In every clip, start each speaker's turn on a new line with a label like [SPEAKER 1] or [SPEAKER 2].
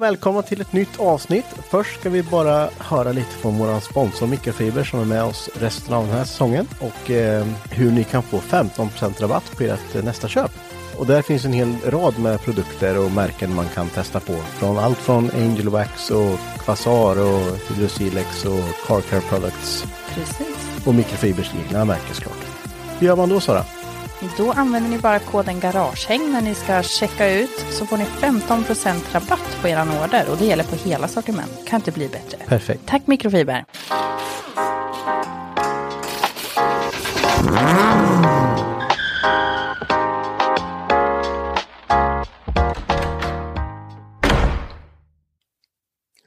[SPEAKER 1] Välkomna till ett nytt avsnitt. Först ska vi bara höra lite från vår sponsor Mikrofiber som är med oss resten av den här säsongen och eh, hur ni kan få 15% rabatt på ert eh, nästa köp. Och där finns en hel rad med produkter och märken man kan testa på. Från allt från Angel Wax och Quasar och Hydrosilex och Car Care Products
[SPEAKER 2] Precis.
[SPEAKER 1] och Mikrofibers egna märken såklart. Hur gör man då Sara?
[SPEAKER 2] Då använder ni bara koden GARAGEHÄNG när ni ska checka ut så får ni 15% rabatt på eran order och det gäller på hela sortiment. Kan inte bli bättre.
[SPEAKER 1] Perfekt.
[SPEAKER 2] Tack mikrofiber.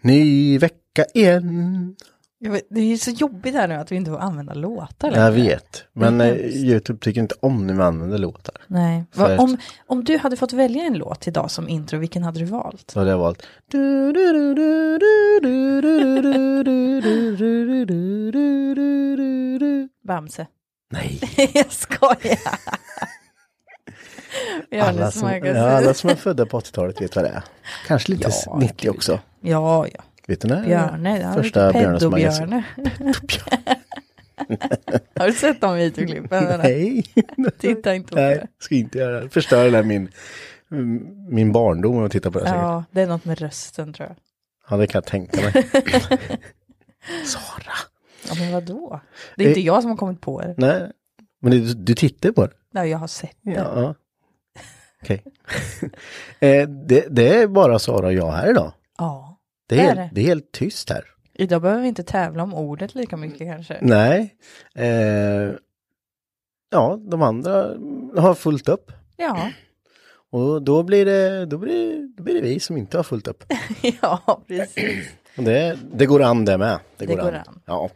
[SPEAKER 1] Ny vecka igen.
[SPEAKER 2] Jag vet, det är så jobbigt här nu att vi inte får använda låtar
[SPEAKER 1] Jag vet, men
[SPEAKER 2] Det är
[SPEAKER 1] eh,
[SPEAKER 2] hemskt.
[SPEAKER 1] Youtube tycker inte om när man använder låtar.
[SPEAKER 2] Nej.
[SPEAKER 1] Så
[SPEAKER 2] Va,
[SPEAKER 1] här-
[SPEAKER 2] om, om du hade fått välja en låt idag som intro, vilken hade du valt?
[SPEAKER 1] Så hade jag valt. Du, du, du, du, du, du, du, du, du, du, du, du, du, du, du, du, du.
[SPEAKER 2] Bamse.
[SPEAKER 1] Nej,
[SPEAKER 2] jag skojar. Vi har
[SPEAKER 1] alla
[SPEAKER 2] det så
[SPEAKER 1] som,
[SPEAKER 2] många
[SPEAKER 1] ja, alla
[SPEAKER 2] sidor.
[SPEAKER 1] som är födda på 80-talet vet vad det är. Kanske lite
[SPEAKER 2] Ja,
[SPEAKER 1] 90 också.
[SPEAKER 2] Ja, ja.
[SPEAKER 1] Vet du när?
[SPEAKER 2] Björne. Ja,
[SPEAKER 1] Första
[SPEAKER 2] Första
[SPEAKER 1] Björnes magasin.
[SPEAKER 2] Björne. Har du sett de videoklippen?
[SPEAKER 1] Nej,
[SPEAKER 2] Titta inte på
[SPEAKER 1] nej,
[SPEAKER 2] det.
[SPEAKER 1] ska inte göra det. Förstör den här min, min barndom om jag tittar på det. här säkert.
[SPEAKER 2] Ja, det är något med rösten tror jag.
[SPEAKER 1] Ja, det kan jag tänka mig. Sara.
[SPEAKER 2] Ja, men vadå? Det är inte
[SPEAKER 1] Eh.
[SPEAKER 2] jag som har kommit på det.
[SPEAKER 1] Nej, men du, du tittar på det.
[SPEAKER 2] Nej, jag har sett det.
[SPEAKER 1] Ja. Okej. eh, det, det är bara Sara och jag här idag.
[SPEAKER 2] Ja.
[SPEAKER 1] Det är,
[SPEAKER 2] Är
[SPEAKER 1] helt-
[SPEAKER 2] det?
[SPEAKER 1] det är helt tyst här.
[SPEAKER 2] Idag behöver vi inte tävla om ordet lika mycket kanske.
[SPEAKER 1] Nej. Eh, ja, de andra har fullt upp.
[SPEAKER 2] Ja,
[SPEAKER 1] Och då blir det, då blir, det- då blir det vi som inte har fullt upp.
[SPEAKER 2] ja precis.
[SPEAKER 1] Och det, det går an det med. Det går, an. Ja.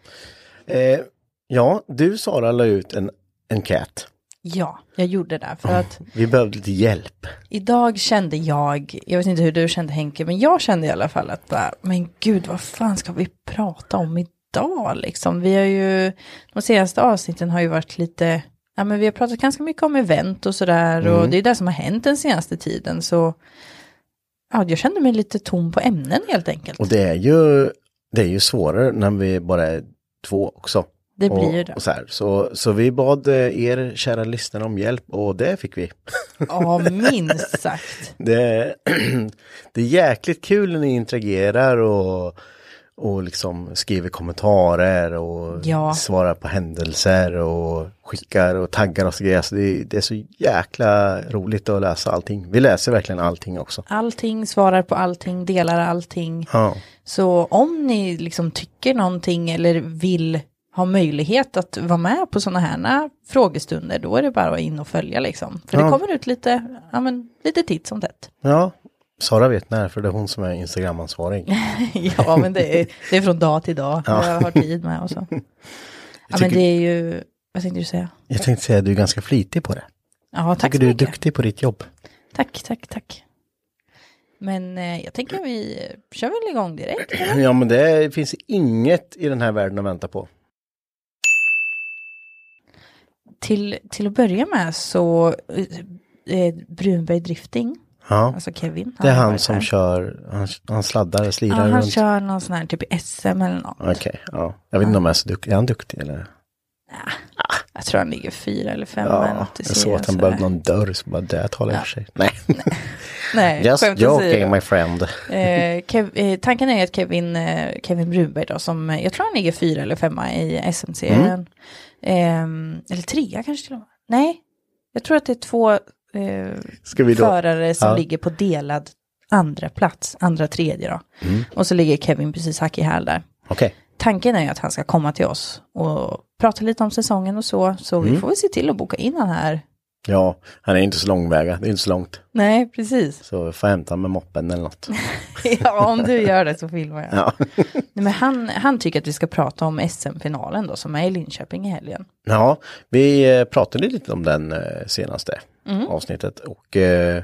[SPEAKER 1] Eh, ja, du Sara la ut en enkät.
[SPEAKER 2] Ja, jag gjorde det för att
[SPEAKER 1] Vi behövde lite hjälp.
[SPEAKER 2] idag kände jag, jag vet inte hur du kände Henke, men jag kände i alla fall att bara, men gud vad fan ska vi prata om idag liksom? Vi har ju, de senaste avsnitten har ju varit lite, ja men vi har pratat ganska mycket om event och sådär
[SPEAKER 1] Mm.
[SPEAKER 2] och det är det som har hänt den senaste tiden så ja, jag kände mig lite tom på ämnen helt enkelt.
[SPEAKER 1] Och det är ju, det är ju svårare när vi bara är två också.
[SPEAKER 2] Det
[SPEAKER 1] och,
[SPEAKER 2] blir ju det.
[SPEAKER 1] Och så, här. Så, så vi bad eh, er kära lyssnare om hjälp och det fick vi.
[SPEAKER 2] Ja, minst sagt.
[SPEAKER 1] Det, det är jäkligt kul när ni interagerar och, och liksom skriver kommentarer och
[SPEAKER 2] Ja.
[SPEAKER 1] svarar på händelser och skickar och taggar oss och grejer. Så det, det är så jäkla roligt att läsa allting. Vi läser verkligen allting också.
[SPEAKER 2] Allting svarar på allting, delar allting.
[SPEAKER 1] Ja,
[SPEAKER 2] Så om ni liksom tycker någonting eller vill ha möjlighet att vara med på sådana här frågestunder, då är det bara att in och följa liksom. För
[SPEAKER 1] Ja.
[SPEAKER 2] det kommer ut lite, ja men lite titt som tätt.
[SPEAKER 1] ja. Sara vet när, för det är hon som är Instagram-ansvarig.
[SPEAKER 2] ja, men det är, det är från dag till dag, vad jag har tid med och så. Ja, men
[SPEAKER 1] tycker-
[SPEAKER 2] det är ju, vad tänkte du säga?
[SPEAKER 1] Jag tänkte säga att du är ganska flitig på det.
[SPEAKER 2] Ja, tack
[SPEAKER 1] Tycker
[SPEAKER 2] så
[SPEAKER 1] du är
[SPEAKER 2] mycket.
[SPEAKER 1] duktig på ditt jobb.
[SPEAKER 2] Tack, tack, tack. Men eh, jag tänker vi eh, kör väl igång direkt.
[SPEAKER 1] Ja, men det finns inget i den här världen att vänta på.
[SPEAKER 2] Till, till att börja med så eh, eh, Brunberg Drifting,
[SPEAKER 1] Ja,
[SPEAKER 2] alltså Kevin.
[SPEAKER 1] det är
[SPEAKER 2] har
[SPEAKER 1] han
[SPEAKER 2] varit
[SPEAKER 1] som
[SPEAKER 2] här.
[SPEAKER 1] kör, han, han sladdar,
[SPEAKER 2] Ja,
[SPEAKER 1] slirar
[SPEAKER 2] han
[SPEAKER 1] runt.
[SPEAKER 2] kör någon sån här typ SM eller något.
[SPEAKER 1] Okej, ja. Jag vet inte om han är så duktig, är han duktig eller?
[SPEAKER 2] Jag tror han ligger fyra eller fem. eller
[SPEAKER 1] Ja,
[SPEAKER 2] något i
[SPEAKER 1] jag såg att han
[SPEAKER 2] serien,
[SPEAKER 1] behövde
[SPEAKER 2] sådär.
[SPEAKER 1] någon dörr, så bara det talar i och för sig. Nej,
[SPEAKER 2] Nej,
[SPEAKER 1] just
[SPEAKER 2] skämt
[SPEAKER 1] joking
[SPEAKER 2] åsido.
[SPEAKER 1] my friend.
[SPEAKER 2] Eh, Kev, eh, tanken är ju att Kevin, eh, Kevin Brunberg då, som eh, jag tror han ligger fyra eller femma i
[SPEAKER 1] Mm.
[SPEAKER 2] SM-serien. Ehm, eller trea kanske till och med. Nej, jag tror att det är två eh,
[SPEAKER 1] Ska vi då?
[SPEAKER 2] förare som
[SPEAKER 1] Ja.
[SPEAKER 2] ligger på delad andra plats, andra tredje då.
[SPEAKER 1] Mm.
[SPEAKER 2] Och så ligger Kevin precis hack i häl där.
[SPEAKER 1] Okej,
[SPEAKER 2] Tanken är ju att han ska komma till oss och prata lite om säsongen och så. Så
[SPEAKER 1] Mm.
[SPEAKER 2] vi får väl se till att boka in han här.
[SPEAKER 1] ja, han är inte så långväga, det är inte så långt.
[SPEAKER 2] Nej, precis.
[SPEAKER 1] Så jag får hämta med moppen eller något.
[SPEAKER 2] ja, om du gör det så filmar jag.
[SPEAKER 1] Ja,
[SPEAKER 2] Nej, men han, han tycker att vi ska prata om SM-finalen då som är i Linköping i helgen.
[SPEAKER 1] ja vi eh, pratade lite om den eh, senaste
[SPEAKER 2] Mm.
[SPEAKER 1] avsnittet och eh,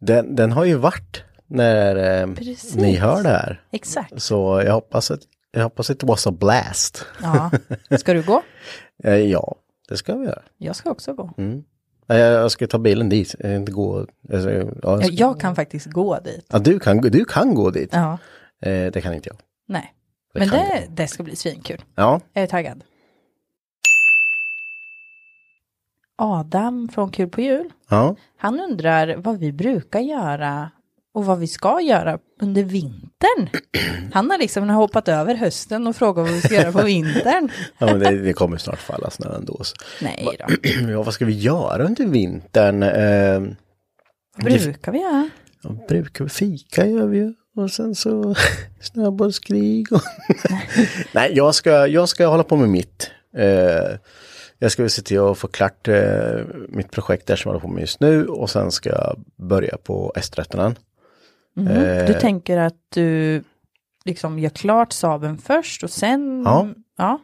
[SPEAKER 1] den, den har ju varit när eh,
[SPEAKER 2] Precis.
[SPEAKER 1] ni hör det här.
[SPEAKER 2] Exakt.
[SPEAKER 1] Så jag hoppas att jag hoppas att det was a blast.
[SPEAKER 2] Ja. Ska du gå?
[SPEAKER 1] Eh, ja, det ska vi göra.
[SPEAKER 2] Jag ska också gå.
[SPEAKER 1] Eh, Jag ska ta bilen dit, eh, inte gå. Alltså, ja, jag
[SPEAKER 2] Ja,
[SPEAKER 1] ska,
[SPEAKER 2] Jag kan faktiskt gå dit.
[SPEAKER 1] ja, du, kan, du kan gå dit.
[SPEAKER 2] Ja,
[SPEAKER 1] Eh, det kan inte jag.
[SPEAKER 2] nej.
[SPEAKER 1] Det
[SPEAKER 2] Men
[SPEAKER 1] kan
[SPEAKER 2] det,
[SPEAKER 1] jag.
[SPEAKER 2] det ska bli svinkul.
[SPEAKER 1] Ja,
[SPEAKER 2] Jag är taggad. Adam från Kul på jul,
[SPEAKER 1] ja,
[SPEAKER 2] han undrar vad vi brukar göra och vad vi ska göra under vintern. Han har liksom hoppat över hösten och frågar vad vi ska göra på vintern.
[SPEAKER 1] ja men det, det kommer snart falla snö ändå. Så.
[SPEAKER 2] Nej då,
[SPEAKER 1] Ja, vad ska vi göra under vintern? Eh,
[SPEAKER 2] vad brukar vi göra?
[SPEAKER 1] ja, brukar vi fika gör vi ju. Och sen så snöbollskrig. Och Nej, jag ska, jag ska hålla på med mitt. Eh, jag ska väl se till att få klart eh, mitt projekt där som jag håller på med just nu. Och sen ska jag börja på S13. Eh.
[SPEAKER 2] Mm. Du tänker att du liksom gör klart Saben först och sen...
[SPEAKER 1] Ja.
[SPEAKER 2] ja.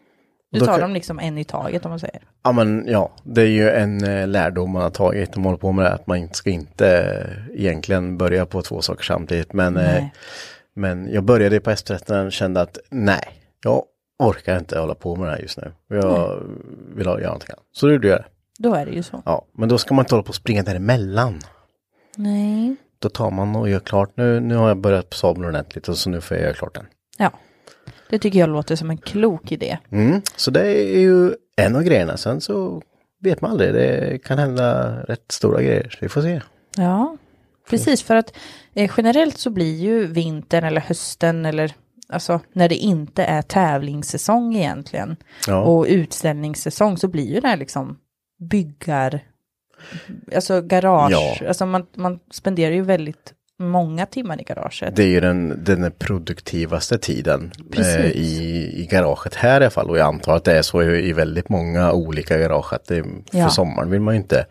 [SPEAKER 2] Du
[SPEAKER 1] Då
[SPEAKER 2] tar
[SPEAKER 1] kan-
[SPEAKER 2] dem liksom en i taget om man säger.
[SPEAKER 1] Ja men ja, det är ju en eh, lärdom man har tagit när man håller på med det, att man inte ska inte eh, egentligen börja på två saker samtidigt. Men, eh,
[SPEAKER 2] Nej.
[SPEAKER 1] men jag började på S13 och kände att nej, jag orkar inte hålla på med det här just nu. Jag vill ha, göra någonting annat. Så då gjorde jag det.
[SPEAKER 2] Då är det ju så.
[SPEAKER 1] Ja, men då ska man inte hålla på och springa däremellan.
[SPEAKER 2] Nej.
[SPEAKER 1] Då tar man och gör klart, nu, nu har jag börjat på sabeln ordentligt och så nu får jag göra klart den.
[SPEAKER 2] Ja. Det tycker jag låter som en klok idé.
[SPEAKER 1] Mm, så det är ju en av grejerna, sen så vet man aldrig, det kan hända rätt stora grejer, så vi får se.
[SPEAKER 2] Ja. Precis, för att eh, generellt så blir ju vintern eller hösten eller alltså när det inte är tävlingssäsong egentligen
[SPEAKER 1] Ja.
[SPEAKER 2] och utställningssäsong så blir ju det här liksom byggar, alltså garage,
[SPEAKER 1] Ja.
[SPEAKER 2] alltså man, man spenderar ju väldigt många timmar i garaget.
[SPEAKER 1] Det är ju den, den produktivaste tiden
[SPEAKER 2] Precis.
[SPEAKER 1] eh, i, i garaget här i alla fall. Och jag antar att det är så i, i väldigt många olika garage. Att det,
[SPEAKER 2] Ja.
[SPEAKER 1] För sommaren vill man ju inte.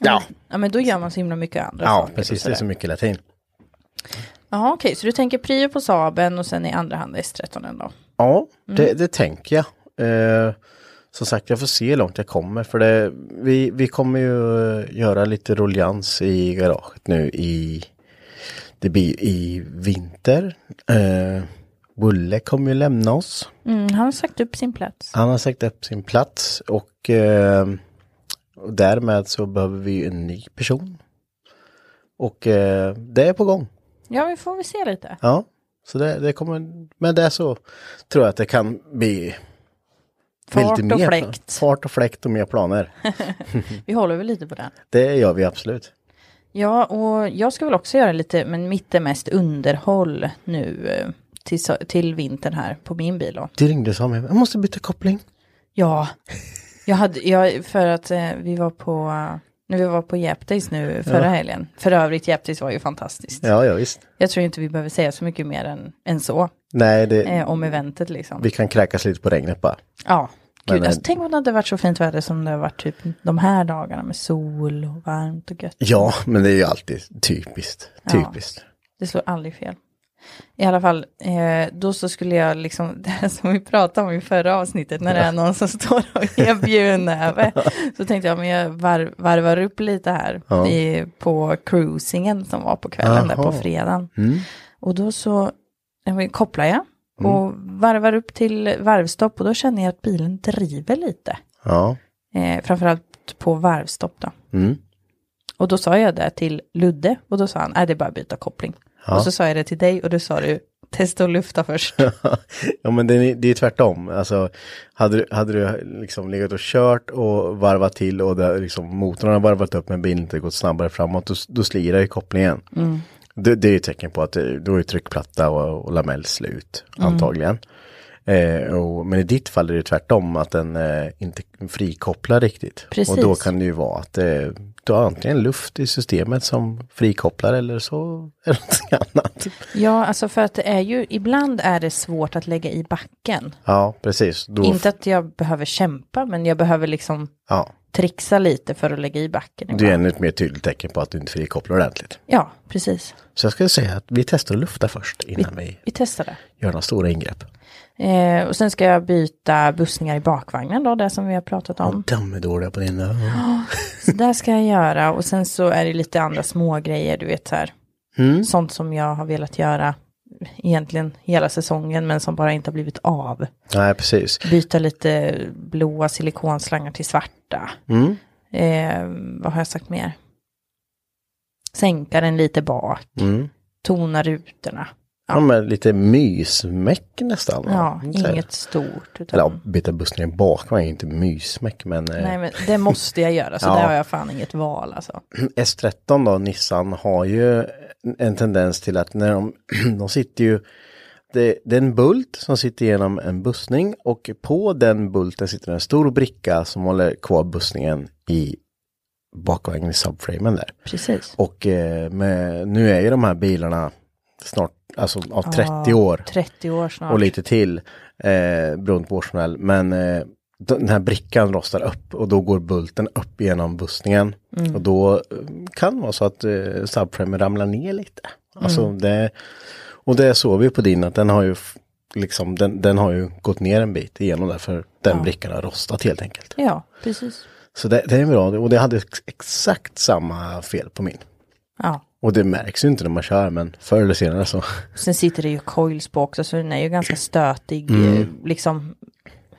[SPEAKER 1] Ja,
[SPEAKER 2] Ja men då gör man så himla mycket andra
[SPEAKER 1] ja
[SPEAKER 2] saker.
[SPEAKER 1] precis. Det är så mycket latin.
[SPEAKER 2] Ja okej, så du tänker prio på Saben och sen i andra hand S13 då?
[SPEAKER 1] Ja, det, det tänker jag. Eh, som sagt, jag får se hur långt jag kommer. För det, vi, vi kommer ju eh, göra lite ruljans i garaget nu i, det blir i vinter. Eh, Bulle kommer ju lämna oss.
[SPEAKER 2] Mm, han har sagt upp sin plats.
[SPEAKER 1] Han har sagt upp sin plats och, eh, och därmed så behöver vi ju en ny person. Och eh, det är på gång.
[SPEAKER 2] Ja vi får väl se lite.
[SPEAKER 1] Ja, så det, det kommer, men det är så tror jag att det kan bli
[SPEAKER 2] Fart
[SPEAKER 1] lite
[SPEAKER 2] och
[SPEAKER 1] mer
[SPEAKER 2] fläkt.
[SPEAKER 1] Fart och fläkt och mer planer.
[SPEAKER 2] Vi håller väl lite på den.
[SPEAKER 1] Det gör vi absolut.
[SPEAKER 2] Ja och jag ska väl också göra lite, men mitt är mest underhåll nu eh, till, so- till vintern här på min bil då.
[SPEAKER 1] Det ringde och sa mig, jag måste byta koppling.
[SPEAKER 2] Ja, jag hade, jag, för att eh, vi var på, eh, när vi var på Japdays nu förra helgen. För övrigt, Japdays var ju fantastiskt.
[SPEAKER 1] Ja, ja visst.
[SPEAKER 2] Jag tror inte vi behöver säga så mycket mer än, än så
[SPEAKER 1] Nej, det,
[SPEAKER 2] eh, om eventet liksom.
[SPEAKER 1] vi kan kräkas lite på regnet bara.
[SPEAKER 2] Ja, gud,
[SPEAKER 1] Men,
[SPEAKER 2] alltså,
[SPEAKER 1] eh,
[SPEAKER 2] tänk om det hade varit så fint väder som det har varit typ de här dagarna med sol och varmt och gött.
[SPEAKER 1] Ja, men det är ju alltid typiskt.
[SPEAKER 2] Ja.
[SPEAKER 1] Typiskt.
[SPEAKER 2] Det slår aldrig fel. I alla fall, eh, då så skulle jag liksom, det här som vi pratade om i förra avsnittet, när det är någon som står och erbjuder en näve, så tänkte jag, men jag var, varvar upp lite här
[SPEAKER 1] Ja.
[SPEAKER 2] i, på cruisingen som var på kvällen där på
[SPEAKER 1] Jaha.
[SPEAKER 2] fredagen.
[SPEAKER 1] Mm.
[SPEAKER 2] Och då så ja, men kopplar jag och varvar upp till varvstopp och då känner jag att bilen driver lite.
[SPEAKER 1] Ja.
[SPEAKER 2] Eh, framförallt på varvstopp då.
[SPEAKER 1] Mm.
[SPEAKER 2] Och då sa jag det till Ludde och då sa han, nej det är bara att byta koppling. Och så sa jag det till dig och då sa du, testa att lufta först.
[SPEAKER 1] ja men det är, det är tvärtom. Alltså, hade, du- hade du liksom legat och kört och varvat till och där liksom motorn har varvat upp men bilen inte gått snabbare framåt då, då slirar ju kopplingen.
[SPEAKER 2] Mm.
[SPEAKER 1] Det, det är ju ett tecken på att det, då är tryckplatta och, och lamell slut
[SPEAKER 2] Mm.
[SPEAKER 1] antagligen. Eh, och, men i ditt fall är det tvärtom att den eh, inte frikopplar riktigt.
[SPEAKER 2] Precis.
[SPEAKER 1] Och då kan det ju vara att eh, du har antingen luft i systemet som frikopplar eller så är det någonting annat.
[SPEAKER 2] Ja, alltså för att det är ju, ibland är det svårt att lägga i backen.
[SPEAKER 1] Ja, precis. Då,
[SPEAKER 2] Inte att jag behöver kämpa, men jag behöver liksom
[SPEAKER 1] ja.
[SPEAKER 2] trixa lite för att lägga i backen.
[SPEAKER 1] Det är
[SPEAKER 2] ibland.
[SPEAKER 1] ännu ett mer tydligt tecken på att du inte frikopplar ordentligt.
[SPEAKER 2] Ja, precis.
[SPEAKER 1] Så jag skulle säga att vi testar att lufta först innan vi,
[SPEAKER 2] Vi testar det.
[SPEAKER 1] gör några stora ingrepp.
[SPEAKER 2] Eh, och sen ska jag byta bussningar i bakvagnen då, det som vi har pratat om.
[SPEAKER 1] De är dåliga på dina.
[SPEAKER 2] Så det ska jag göra och sen så är det lite andra små grejer, du vet så här.
[SPEAKER 1] Mm.
[SPEAKER 2] Sånt som jag har velat göra egentligen hela säsongen men som bara inte har blivit av.
[SPEAKER 1] Nej, precis.
[SPEAKER 2] Byta lite blåa silikonslangar till svarta.
[SPEAKER 1] Mm.
[SPEAKER 2] Eh, vad har jag sagt mer? Sänka den lite bak.
[SPEAKER 1] Mm.
[SPEAKER 2] Tona rutorna.
[SPEAKER 1] Ja, men lite mysmäck nästan. va?
[SPEAKER 2] Ja,
[SPEAKER 1] Så här.
[SPEAKER 2] inget stort. Utan,
[SPEAKER 1] Eller eh. ja, byta bussen i bakvagn är inte mysmäck, men, eh,
[SPEAKER 2] Nej
[SPEAKER 1] Nej,
[SPEAKER 2] men det måste jag göra så
[SPEAKER 1] Ja.
[SPEAKER 2] där har jag fan inget val alltså.
[SPEAKER 1] S13 då, Nissan, har ju en tendens till att när de, de sitter ju det, det är en bult som sitter genom en bussning och på den bulten sitter en stor bricka som håller kvar bussningen i bakvagnen i subframen där.
[SPEAKER 2] Precis.
[SPEAKER 1] Och eh, med, nu är ju de här bilarna snart, alltså av 30 år
[SPEAKER 2] 30 år snart.
[SPEAKER 1] och lite till eh, beroende på årsmodell. Men eh, den här brickan rostar upp och då går bulten upp genom bussningen. Och då eh, kan det vara så att eh, subframen ramlar ner lite. Alltså det, och det såg vi på din att den har ju f- liksom, den, den har ju gått ner en bit igenom därför den brickan har rostat helt enkelt.
[SPEAKER 2] Ja, precis.
[SPEAKER 1] Så det, det är bra och det hade ex- exakt samma fel på min.
[SPEAKER 2] Ja.
[SPEAKER 1] Och det märks ju inte när man kör men förr eller senare så.
[SPEAKER 2] Sen sitter det ju coils på också så den är ju ganska stötig eh, liksom.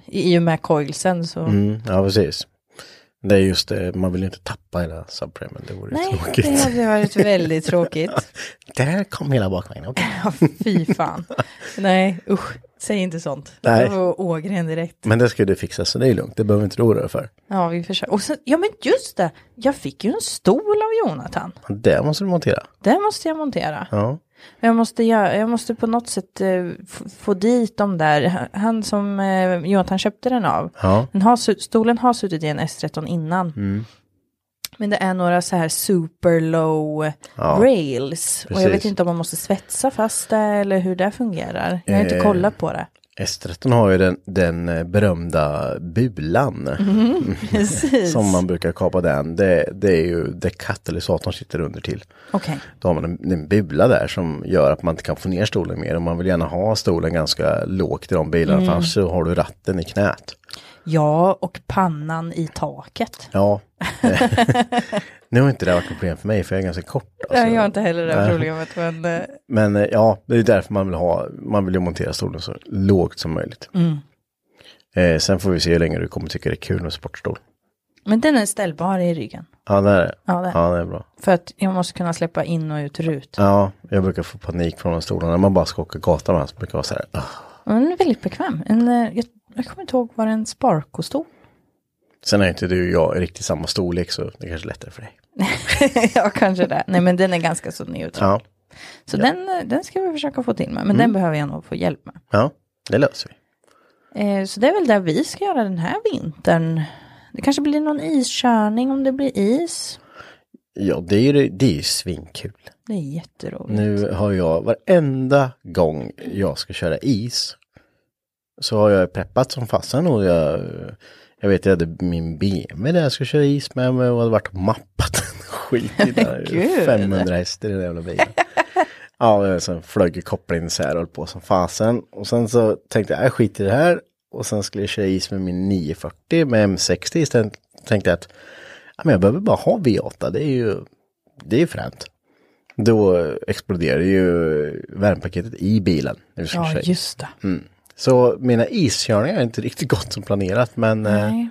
[SPEAKER 2] I i och med coilsen så.
[SPEAKER 1] Mm, ja precis. Det är just det, man vill ju inte tappa hela subframen, det vore ju
[SPEAKER 2] Nej,
[SPEAKER 1] tråkigt.
[SPEAKER 2] det hade varit väldigt tråkigt.
[SPEAKER 1] Där kom hela bakvagnen, okej.
[SPEAKER 2] Ja, fy fan. Nej, usch. Säg inte sånt.
[SPEAKER 1] Nej.
[SPEAKER 2] Det var Ågren direkt.
[SPEAKER 1] Men det ska ju du fixa så det är lugnt, det behöver inte du oroa dig för.
[SPEAKER 2] Ja, vi försöker. Och sen, ja, men just det. Jag fick ju en stol av Jonathan.
[SPEAKER 1] Det måste du montera.
[SPEAKER 2] Den måste jag montera.
[SPEAKER 1] Ja.
[SPEAKER 2] Jag måste, göra, jag måste på något sätt eh, f- få dit de där. Han som eh, Jonathan köpte den av.
[SPEAKER 1] Ja.
[SPEAKER 2] Den har, su- stolen har suttit i en S13 innan.
[SPEAKER 1] Mm.
[SPEAKER 2] Men det är några så här super low rails. Och jag vet
[SPEAKER 1] Precis.
[SPEAKER 2] inte om man måste svetsa fast det eller hur det fungerar. Jag har inte
[SPEAKER 1] Eh.
[SPEAKER 2] kollat på det.
[SPEAKER 1] S13 har ju den, den eh, berömda bulan
[SPEAKER 2] Precis.
[SPEAKER 1] som
[SPEAKER 2] Okej.
[SPEAKER 1] man brukar kapa den. Det, det är ju där katalysatorn sitter under till. Då har man en, en bula där som gör att man inte kan få ner stolen mer och man vill gärna ha stolen ganska lågt i de bilarna för annars så har du ratten i knät.
[SPEAKER 2] Ja, och pannan i taket.
[SPEAKER 1] Ja. Eh, nu har inte det varit något problem för mig för jag är ganska kort. Alltså.
[SPEAKER 2] Nej, jag har inte heller det här problemet. Men, eh,
[SPEAKER 1] Men eh, ja, det är därför man vill ha, man vill ju montera stolen så lågt som möjligt.
[SPEAKER 2] Mm.
[SPEAKER 1] Eh, sen får vi se hur länge du kommer tycka det är kul med sportstol.
[SPEAKER 2] men den är ställbar i ryggen.
[SPEAKER 1] Ja, det är det.
[SPEAKER 2] Ja, det är.
[SPEAKER 1] Ja, det är bra.
[SPEAKER 2] För att jag måste kunna släppa in och ut rut.
[SPEAKER 1] Ja, jag brukar få panik från de stolarna. När man bara ska åka gatan med den så brukar jag "Ah." vara så här. "Ugh."
[SPEAKER 2] Och Den är väldigt bekväm. En, eh, jag, jag kommer inte ihåg var en Sparco stod.
[SPEAKER 1] Sen är inte du och jag i riktigt samma storlek så det är kanske är lättare för dig.
[SPEAKER 2] ja, kanske det. Nej, men den är ganska så neutral.
[SPEAKER 1] Ja, Mm.
[SPEAKER 2] Så den, eh, den ska vi försöka få till med. Men den behöver jag nog få hjälp med.
[SPEAKER 1] ja det löser vi.
[SPEAKER 2] Eh, så det är väl det vi ska göra den här vintern. Det kanske blir någon iskörning om det blir is.
[SPEAKER 1] Ja, det är ju det är ju svinkul.
[SPEAKER 2] Det är jätteroligt.
[SPEAKER 1] Nu har jag, varenda gång jag ska köra is så har jag preppat som fasen och jag, jag vet jag hade min BMW där jag skulle köra is med mig och hade varit och mappat en skit i den.
[SPEAKER 2] Gud.
[SPEAKER 1] 500 hästar i den jävla bilen. Ja, sen flög kopplingen så här och höll på som fasen. Och sen så tänkte jag, jag skiter i det här. Och sen skulle jag köra is med min 940 med M60 istället. Tänkte jag att ja, men jag behöver bara ha V8, det är ju det är ju fränt. Då exploderade ju värmepaketet i bilen. När vi skulle
[SPEAKER 2] Ja,
[SPEAKER 1] köra is.
[SPEAKER 2] just det.
[SPEAKER 1] Så mina iskörningar har inte riktigt gått som planerat men eh,
[SPEAKER 2] Nej.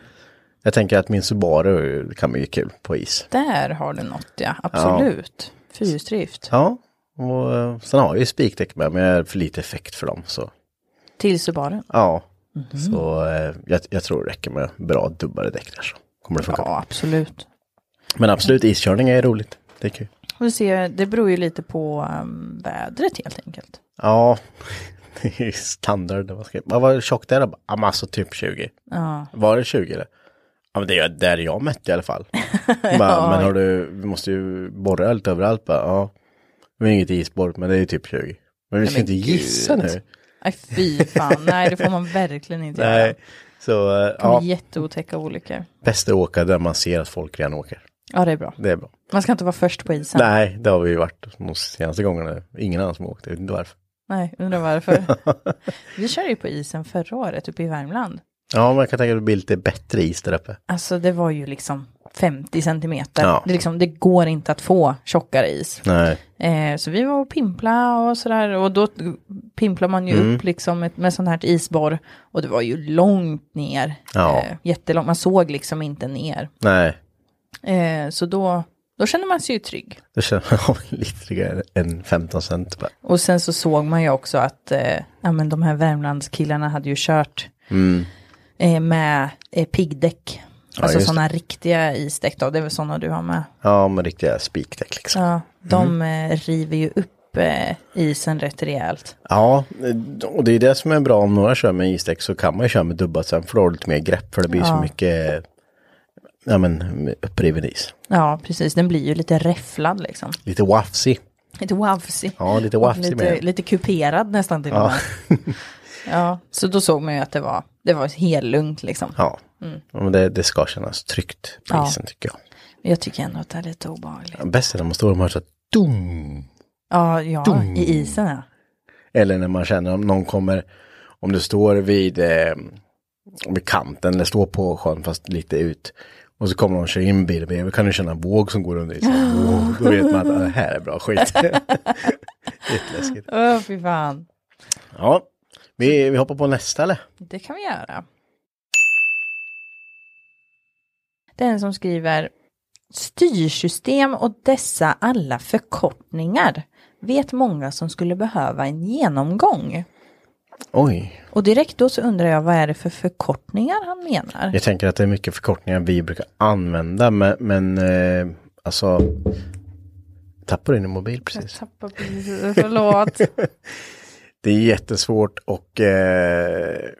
[SPEAKER 1] jag tänker att min Subaru kan bli kul på is.
[SPEAKER 2] Där har du något ja, absolut. Fyrhjulsdrift.
[SPEAKER 1] Ja, och eh, sen har jag ju spikdäck med men jag har för lite effekt för dem. Så
[SPEAKER 2] Till Subaren.
[SPEAKER 1] ja,
[SPEAKER 2] Mhm.
[SPEAKER 1] så eh, jag, jag tror det räcker med bra dubbade däck där så kommer det funka.
[SPEAKER 2] Ja, absolut.
[SPEAKER 1] Men absolut iskörning är roligt. Det är kul.
[SPEAKER 2] Och du ser, det beror ju lite på um, vädret helt enkelt.
[SPEAKER 1] Ja, det är ju standard. Vad, ska, vad var tjockt där då? Ja, men alltså typ 20. Var det 20 eller? Ja, men det är där jag mätte i alla fall. Bara, men har du, vi måste ju borra lite överallt bara. Ja, men inget isborr, men det är ju typ 20. Men vi ska
[SPEAKER 2] men
[SPEAKER 1] inte gissa
[SPEAKER 2] gud.
[SPEAKER 1] nu.
[SPEAKER 2] Nej, fy fan. Nej, det får man verkligen inte göra.
[SPEAKER 1] Nej,
[SPEAKER 2] Det
[SPEAKER 1] så eh,
[SPEAKER 2] kan
[SPEAKER 1] ja,
[SPEAKER 2] bli jätteotäcka olyckor.
[SPEAKER 1] bäst att åka där man ser att folk redan åker.
[SPEAKER 2] Ja, det är bra.
[SPEAKER 1] Det är bra.
[SPEAKER 2] Man ska inte vara först på isen.
[SPEAKER 1] Nej, det har vi ju varit de senaste gångerna. Ingen annan som har åkt, jag vet inte varför.
[SPEAKER 2] Nej, undrar varför. Vi körde ju på isen förra året uppe i Värmland.
[SPEAKER 1] Ja, men jag kan tänka mig att det blir lite bättre is där uppe.
[SPEAKER 2] Alltså det var ju liksom 50 centimeter.
[SPEAKER 1] Ja.
[SPEAKER 2] Det, är liksom, det går inte att få tjockare is.
[SPEAKER 1] Nej,
[SPEAKER 2] Eh, så vi var och pimpla och sådär. Och då pimplar man ju
[SPEAKER 1] Mm.
[SPEAKER 2] upp liksom ett, med sånt här isborr. Och det var ju långt ner. Eh,
[SPEAKER 1] Ja.
[SPEAKER 2] jättelångt. Man såg liksom inte ner.
[SPEAKER 1] nej.
[SPEAKER 2] Eh, så då, då kände man sig ju trygg.
[SPEAKER 1] Då känner man av lite tryggare än 15 cent. bara.
[SPEAKER 2] Och sen så såg man ju också att eh, ja, men de här Värmlandskillarna hade ju kört
[SPEAKER 1] Mm.
[SPEAKER 2] eh, med eh, piggdäck. Alltså
[SPEAKER 1] just
[SPEAKER 2] sådana riktiga isdäck då, det är väl sådana du har med.
[SPEAKER 1] Ja, men riktiga spikdäck liksom.
[SPEAKER 2] Ja, de
[SPEAKER 1] Mm.
[SPEAKER 2] eh, river ju upp eh, isen rätt rejält.
[SPEAKER 1] Ja, eh, och det är det som är bra om några kör med isdäck så kan man ju köra med dubbat sen för då har du lite mer grepp för det blir så mycket ja, men, uppriven is.
[SPEAKER 2] Ja, precis, den blir ju lite räfflad liksom.
[SPEAKER 1] Lite wafsig.
[SPEAKER 2] Lite wafsig.
[SPEAKER 1] Ja, lite
[SPEAKER 2] Och
[SPEAKER 1] wafsig med
[SPEAKER 2] lite,
[SPEAKER 1] den.
[SPEAKER 2] lite kuperad nästan till och med. Ja, så då såg man ju att det var, det var helt lugnt liksom.
[SPEAKER 1] Ja, Ja, men det, det ska kännas tryggt på
[SPEAKER 2] Ja.
[SPEAKER 1] isen tycker jag.
[SPEAKER 2] Men Jag tycker ändå att det är lite obehagligt.
[SPEAKER 1] Bäst är när man står och man hör så här, dum.
[SPEAKER 2] Ja, ja i isen ja.
[SPEAKER 1] Eller när man känner om någon kommer, om du står vid, eh, vid kanten eller står på sjön fast lite ut. Och så kommer någon köra in bil bredvid, kan du känna en våg som går under isen. Wow, då vet man att ah, det här är bra skit. Jätteläskigt.
[SPEAKER 2] Åh, fy fan.
[SPEAKER 1] Ja, vi, vi hoppar på nästa eller?
[SPEAKER 2] Det kan vi göra. Den som skriver styrsystem och dessa alla förkortningar vet många som skulle behöva en genomgång.
[SPEAKER 1] Oj,
[SPEAKER 2] Och direkt då så undrar jag vad är det för förkortningar han menar?
[SPEAKER 1] jag tänker att det är mycket förkortningar vi brukar använda, men, men eh, alltså Tappar du din mobil precis?
[SPEAKER 2] Tappar precis, förlåt.
[SPEAKER 1] Det är jättesvårt och eh,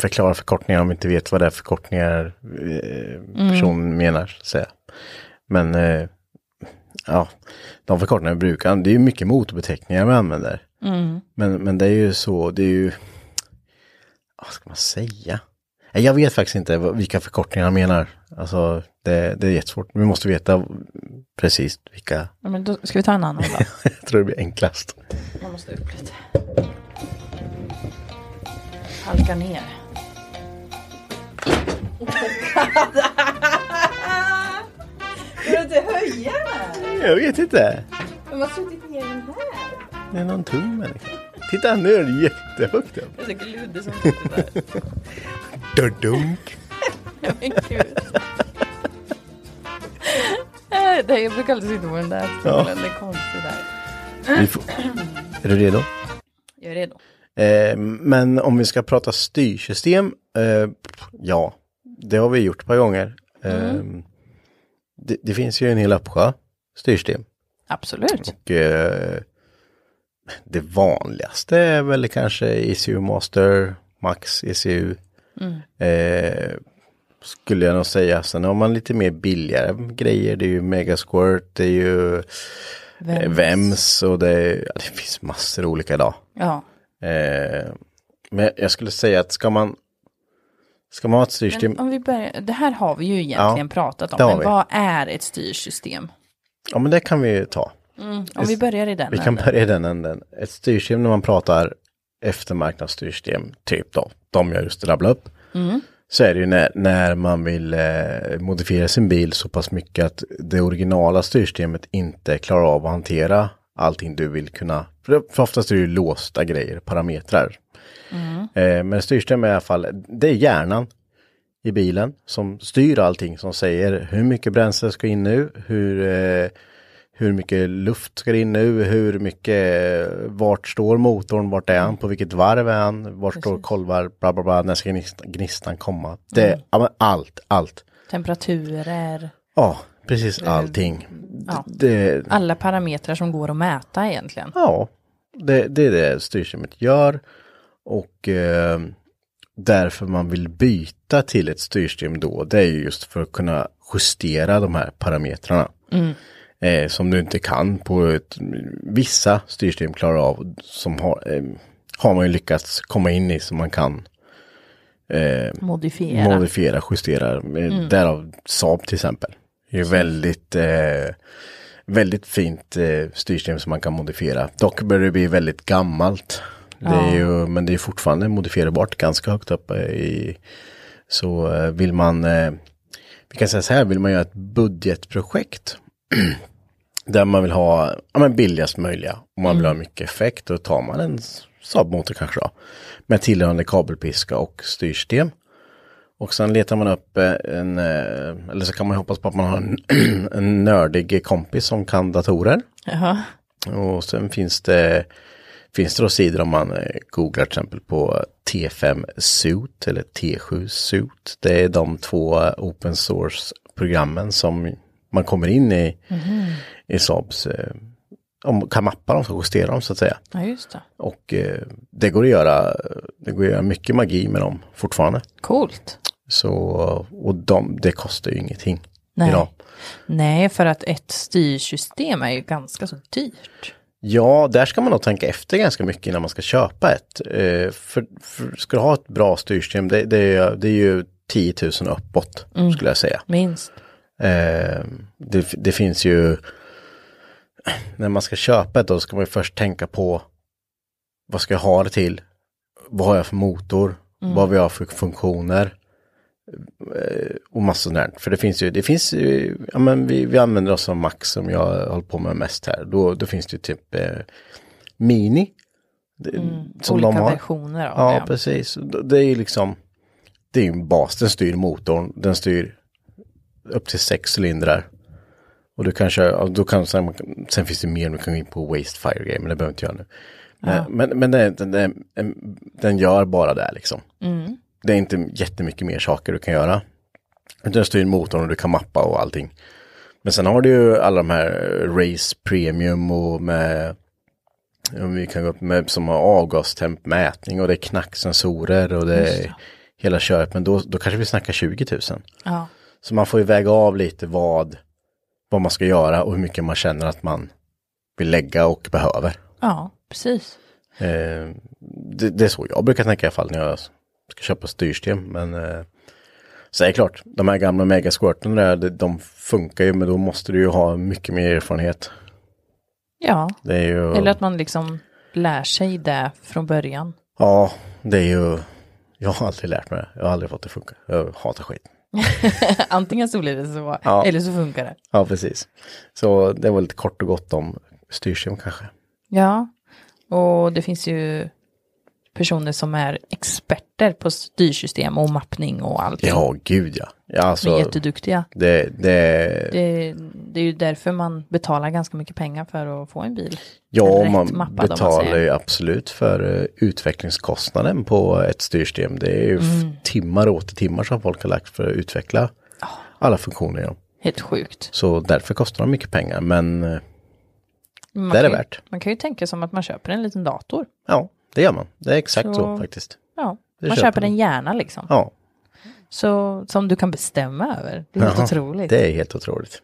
[SPEAKER 1] förklara förkortningar om vi inte vet vad det är förkortningar eh, personen menar. så att Säga. Men eh, ja, de förkortningar vi brukar, det är ju mycket motorbeteckningar vi använder. Men, men det är ju så, det är ju, vad ska man säga? Nej, Jag vet faktiskt inte vad- vilka förkortningar han menar. Alltså det, det är jättesvårt. Vi måste veta precis vilka,
[SPEAKER 2] Ja, Men då ska vi ta en annan då?
[SPEAKER 1] jag tror det blir enklast.
[SPEAKER 2] Man måste upp lite. Halka ner. Kan du inte höja den?
[SPEAKER 1] Jag vet inte.
[SPEAKER 2] Man har suttit ner den här.
[SPEAKER 1] Det är någon tung människa. Titta nu är det jättehögt upp.
[SPEAKER 2] Det är säkert Ludde som sitter där.
[SPEAKER 1] Dudunk.
[SPEAKER 2] Men gud. Äh, nej, Jag brukar alltid sitta på den där stolen. Det är konstigt där.
[SPEAKER 1] Vi får... Är du redo?
[SPEAKER 2] Jag är redo.
[SPEAKER 1] Eh, men om vi ska prata styrsystem, eh, ja, det har vi gjort ett par gånger. Eh, det, det finns ju en hel uppsjö styrsystem.
[SPEAKER 2] Absolut.
[SPEAKER 1] Och, eh, det vanligaste är väl kanske ECU Master, Max ECU. Eh, skulle jag nog säga. Sen har man lite mer billigare grejer. Det är ju Megasquirt, det är ju eh, Vems och det, är, ja, det finns massor olika idag.
[SPEAKER 2] Ja.
[SPEAKER 1] Eh, men jag skulle säga att ska man ska man ha ett styrsystem,
[SPEAKER 2] Men om vi börjar, det här har vi ju egentligen
[SPEAKER 1] Ja,
[SPEAKER 2] pratat om.
[SPEAKER 1] det har
[SPEAKER 2] Men
[SPEAKER 1] vi.
[SPEAKER 2] vad är ett styrsystem?
[SPEAKER 1] ja men det kan vi ju ta.
[SPEAKER 2] Om vi börjar i den.
[SPEAKER 1] Vi kan
[SPEAKER 2] änden.
[SPEAKER 1] börja i den änden. Ett styrsystem när man pratar eftermarknadsstyrsystem, typ då, de jag just rabblade upp. Så är det ju när, när man vill eh, modifiera sin bil så pass mycket att det originala styrsystemet inte klarar av att hantera allting du vill kunna. För, det, för oftast är det ju låsta grejer, parametrar. Eh, men styrsystem är i alla fall, det är hjärnan i bilen som styr allting som säger hur mycket bränsle ska in nu, hur eh, hur mycket luft ska det in nu? Hur mycket, eh, vart står motorn? Vart är han? På vilket varv är han? Vart står kolvar? Bla, bla, bla. När ska gnistan, gnistan komma? Det, ja, men allt, allt.
[SPEAKER 2] Temperaturer,
[SPEAKER 1] Ja, precis allting.
[SPEAKER 2] ja.
[SPEAKER 1] Det,
[SPEAKER 2] alla parametrar som går att mäta egentligen.
[SPEAKER 1] ja, det, det är det styrsystemet gör. Och eh, därför man vill byta till ett styrsystem då, det är ju just för att kunna justera de här parametrarna. Eh, som du inte kan på ett, vissa styrsystem klarar av, som har, eh, har man ju lyckats komma in i som man kan eh,
[SPEAKER 2] Modifiera.
[SPEAKER 1] modifiera, justera. Eh, Därav Saab till exempel. Det är ju väldigt, eh, väldigt fint eh, styrsystem som man kan modifiera. Dock börjar det bli väldigt gammalt. Det är ju, men det är fortfarande modifierbart ganska högt upp eh, i. Så eh, vill man, eh, vi kan säga så här, vill man göra ett budgetprojekt där man vill ha ja, men billigast möjliga och man vill ha mycket effekt då tar man en Saab-motor kanske då. Med tillhörande kabelpiska och styrsystem. Och sen letar man upp eh, en, eh, eller så kan man hoppas på att man har en, en nördig kompis som kan datorer.
[SPEAKER 2] Jaha.
[SPEAKER 1] Och sen finns det, finns det då sidor om man eh, googlar till exempel på T5 Suit eller T7 Suit. Det är de två open source-programmen som man kommer in i, i Saabs, eh, om, kan mappa dem, så justera dem så att säga.
[SPEAKER 2] Ja, just det.
[SPEAKER 1] Och eh, det går att göra, det går att göra mycket magi med dem fortfarande.
[SPEAKER 2] Coolt.
[SPEAKER 1] Så, och de, det kostar ju ingenting
[SPEAKER 2] Nej.
[SPEAKER 1] idag.
[SPEAKER 2] Nej, för att ett styrsystem är ju ganska så dyrt.
[SPEAKER 1] Ja, där ska man nog tänka efter ganska mycket innan man ska köpa ett. Eh, för, för ska du ha ett bra styrsystem, det, det, är- det är ju 10 000 uppåt skulle jag säga.
[SPEAKER 2] Minst.
[SPEAKER 1] Eh, det, det finns ju, när man ska köpa ett då ska man ju först tänka på vad ska jag ha det till? Vad har jag för motor?
[SPEAKER 2] Mm.
[SPEAKER 1] Vad vill jag ha för funktioner? Eh, Och massor sånt där. För det finns ju, det finns ju, ja men vi, vi använder oss av Max som jag håller på med mest här. Då, då finns det ju typ eh, Mini. Det- Som
[SPEAKER 2] Mm, Olika
[SPEAKER 1] de har.
[SPEAKER 2] versioner av
[SPEAKER 1] Ja,
[SPEAKER 2] det.
[SPEAKER 1] precis. D- Det är ju liksom, det är ju en bas, den styr motorn, den styr upp till sex cylindrar. Och du kanske, ja, då kan, sen, sen finns det mer, du kan gå in på Wastefire grejer, men det behöver inte jag nu. Men, men, men den, den, den, den gör bara det liksom. Det är inte jättemycket mer saker du kan göra. Utan Den styr motorn och du kan mappa och allting. Men sen har du ju alla de här eh, Race Premium och med om vi kan gå upp med som har avgastempmätning och det är knacksensorer och det är hela köret. Men då, då kanske vi snackar 20 000.
[SPEAKER 2] Ja.
[SPEAKER 1] Så man får ju väga av lite vad, vad man ska göra och hur mycket man känner att man vill lägga och behöver.
[SPEAKER 2] ja, precis.
[SPEAKER 1] Eh, det, det är så jag brukar tänka i alla fall när jag ska köpa styrsystem. Men eh, så är det klart, de här gamla megasquirten där, de, de funkar ju men då måste du ju ha mycket mer erfarenhet.
[SPEAKER 2] Ja,
[SPEAKER 1] Det är ju...
[SPEAKER 2] eller att man liksom lär sig det från början.
[SPEAKER 1] Ja, det är ju... Jag har aldrig lärt mig det. Jag har aldrig fått det funka. Jag hatar skit.
[SPEAKER 2] Antingen så blir det så,
[SPEAKER 1] Ja.
[SPEAKER 2] eller så funkar det.
[SPEAKER 1] Ja, precis. Så det var lite kort och gott om styrsystem kanske.
[SPEAKER 2] Ja, och det finns ju personer som är experter på styrsystem och mappning och allt.
[SPEAKER 1] Ja, gud ja. ja
[SPEAKER 2] Som är
[SPEAKER 1] alltså,
[SPEAKER 2] jätteduktiga.
[SPEAKER 1] det, det,
[SPEAKER 2] Det, det är ju därför man betalar ganska mycket pengar för att få en bil.
[SPEAKER 1] ja,
[SPEAKER 2] rätt
[SPEAKER 1] man
[SPEAKER 2] mappad, om man
[SPEAKER 1] betalar
[SPEAKER 2] säger.
[SPEAKER 1] ju absolut för eh, utvecklingskostnaden på ett styrsystem. Det är ju f-
[SPEAKER 2] Mm.
[SPEAKER 1] timmar och åter timmar som folk har lagt för att utveckla alla funktioner i dem.
[SPEAKER 2] Helt sjukt.
[SPEAKER 1] Så därför kostar de mycket pengar, men eh,
[SPEAKER 2] Man
[SPEAKER 1] Det är
[SPEAKER 2] kan
[SPEAKER 1] det
[SPEAKER 2] ju-
[SPEAKER 1] värt.
[SPEAKER 2] Man kan ju tänka som att man köper en liten dator.
[SPEAKER 1] ja, det gör man. Det är exakt så,
[SPEAKER 2] Så-
[SPEAKER 1] faktiskt.
[SPEAKER 2] Ja,
[SPEAKER 1] Det
[SPEAKER 2] man
[SPEAKER 1] köper
[SPEAKER 2] köper en hjärna liksom.
[SPEAKER 1] Ja,
[SPEAKER 2] Så, som du kan bestämma över. Det är helt
[SPEAKER 1] Ja,
[SPEAKER 2] otroligt.
[SPEAKER 1] det är helt otroligt.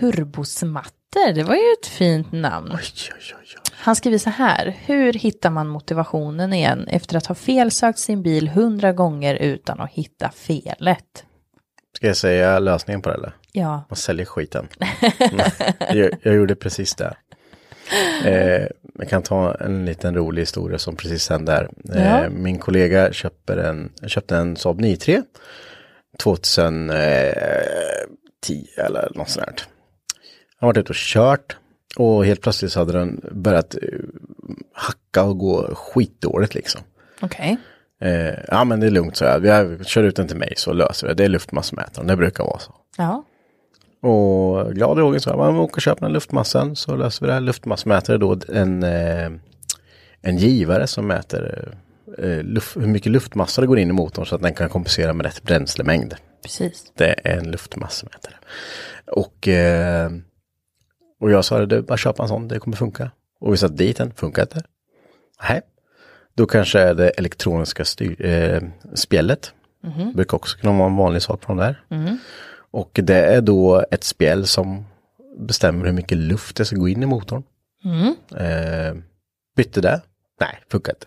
[SPEAKER 2] Turbosmatter, det var ju ett fint namn.
[SPEAKER 1] Oj, oj, oj, oj.
[SPEAKER 2] Han skriver så här, hur hittar man motivationen igen efter att ha felsökt sin bil hundra gånger utan att hitta felet?
[SPEAKER 1] Ska Ska jag säga lösningen på det eller?
[SPEAKER 2] Ja.
[SPEAKER 1] Man säljer skiten. Mm. jag, jag gjorde precis det. Eh, jag kan ta en liten rolig historia som precis hände här. Eh,
[SPEAKER 2] Ja.
[SPEAKER 1] Min kollega köper en, köpte en Saab 9-3 2010 eh, eller något sånt. Här. Han varit ute och kört och helt plötsligt så hade den börjat eh, hacka och gå skitdåligt liksom.
[SPEAKER 2] Okej.
[SPEAKER 1] Eh, ja men det är lugnt så jag. Vi har- kör ut den till mig så löser vi det. Det är luftmassmätaren, det brukar vara så.
[SPEAKER 2] Ja.
[SPEAKER 1] Och glad i hågen så här, man åker och köper den här luftmassan så löser vi det här. Luftmassmätare är då en, eh, en givare som mäter eh, luft, hur mycket luftmassa det går in i motorn så att den kan kompensera med rätt bränslemängd.
[SPEAKER 2] Precis.
[SPEAKER 1] Det är en luftmassmätare. Och, eh, och jag sa det, du bara köpa en sån, det kommer funka. Och vi satte dit den, funkar inte. Nej. Då kanske är det elektroniska styr, eh, spjället. Brukar också kunna vara en vanlig sak från där. Och det är då ett spjäll som bestämmer hur mycket luft det ska gå in i motorn. Eh, bytte det? Nej, funkar inte.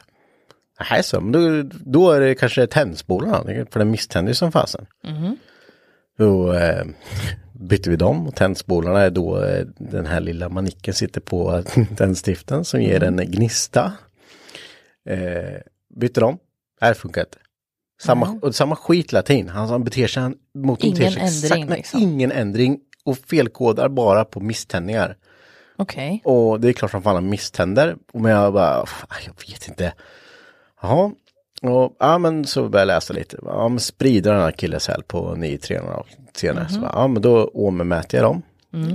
[SPEAKER 1] Nej, så, men då, då är det kanske tändspolarna, för den misständer ju som fasen. Då eh, bytte vi dem och tändspolarna är då eh, den här lilla manicken sitter på tändstiften som ger en gnista. Eh, bytte dem, nej det funkar inte. Samma, och samma skit latin, han, han beter sig, han, motorn beter
[SPEAKER 2] Ingen
[SPEAKER 1] sig exakt,
[SPEAKER 2] ändring,
[SPEAKER 1] nej,
[SPEAKER 2] liksom.
[SPEAKER 1] ingen ändring och felkodar bara på misständningar.
[SPEAKER 2] Okej.
[SPEAKER 1] Och det är klart som fan han misständer. Och men jag bara, "Fan, jag vet inte. Jaha. Och ja men så började jag läsa lite. Ja men sprider den här akilleshäl på 9-3 några år senare. Så bara, ja men då åmermäter jag dem.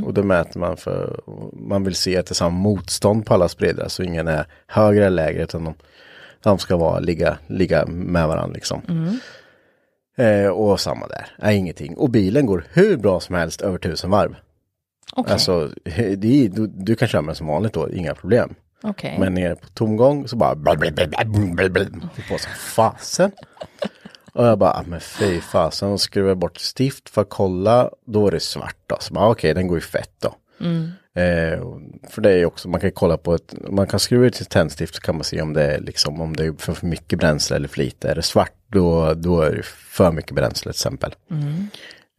[SPEAKER 1] Och då mäter man för, man vill se att det är samma motstånd på alla spridare. Så ingen är högre eller lägre utan de, de ska vara, ligga, ligga med varandra liksom. Eh, och samma där, nej ingenting. Och bilen går hur bra som helst över tusen varv.
[SPEAKER 2] Okej.
[SPEAKER 1] Alltså, det är, du, du kan köra med som vanligt då, inga problem.
[SPEAKER 2] Okej.
[SPEAKER 1] Men nere på tomgång så bara fick på som fasen. Och jag bara, ah, men fy fasen, och skruvar bort stift för att kolla, då är det svart då. Så bara, ah, okej, den går ju fett då.
[SPEAKER 2] Mm.
[SPEAKER 1] Eh, och för det är ju också, man kan ju kolla på ett, man kan skruva ut sitt tändstift så kan man se om det är liksom, om det är för för mycket bränsle eller för lite. Är det svart då, då är det för mycket bränsle till exempel.
[SPEAKER 2] Mm.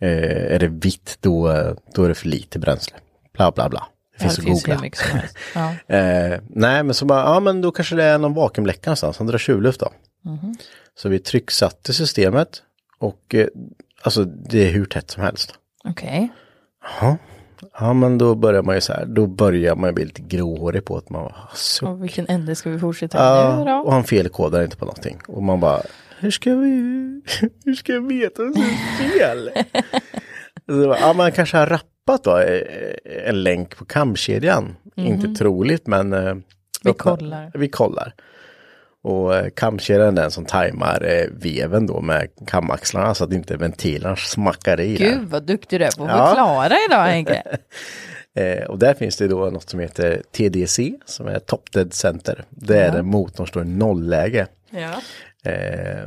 [SPEAKER 1] Eh, är det vitt då, då är det för lite bränsle. Bla bla bla. Det
[SPEAKER 2] Ja,
[SPEAKER 1] finns
[SPEAKER 2] det
[SPEAKER 1] att
[SPEAKER 2] finns hur
[SPEAKER 1] googla.
[SPEAKER 2] mycket som helst. Ja.
[SPEAKER 1] Eh, nej, men så bara, ja men då kanske det är någon vakuumläcka någonstans som drar tjuvluft då. Så vi trycksatte systemet och eh, alltså det är hur tätt som helst.
[SPEAKER 2] Okej.
[SPEAKER 1] Jaha. Ja, men då börjar man ju så här, då börjar man ju bli lite gråhårig på att man bara, så
[SPEAKER 2] Och vilken ände ska vi fortsätta nu
[SPEAKER 1] Ja,
[SPEAKER 2] då?
[SPEAKER 1] och han felkodar inte på någonting. Och man bara, hur ska vi, hur ska jag veta att det är fel? Så, bara, ja, man kanske har rappat då eh, en länk på kamkedjan. Inte troligt, men eh, öppna-
[SPEAKER 2] Mhm. kollar.
[SPEAKER 1] vi kollar. Och eh, kamkedjan är den som tajmar eh, veven då med kamaxlarna så att inte ventilerna smackar i. där.
[SPEAKER 2] Gud vad duktig du är på att
[SPEAKER 1] Ja.
[SPEAKER 2] förklara idag Henke.
[SPEAKER 1] Eh, och där finns det då något som heter TDC som är Top Dead Center. Det är där motorn står i nollläge.
[SPEAKER 2] Ja.
[SPEAKER 1] Eh,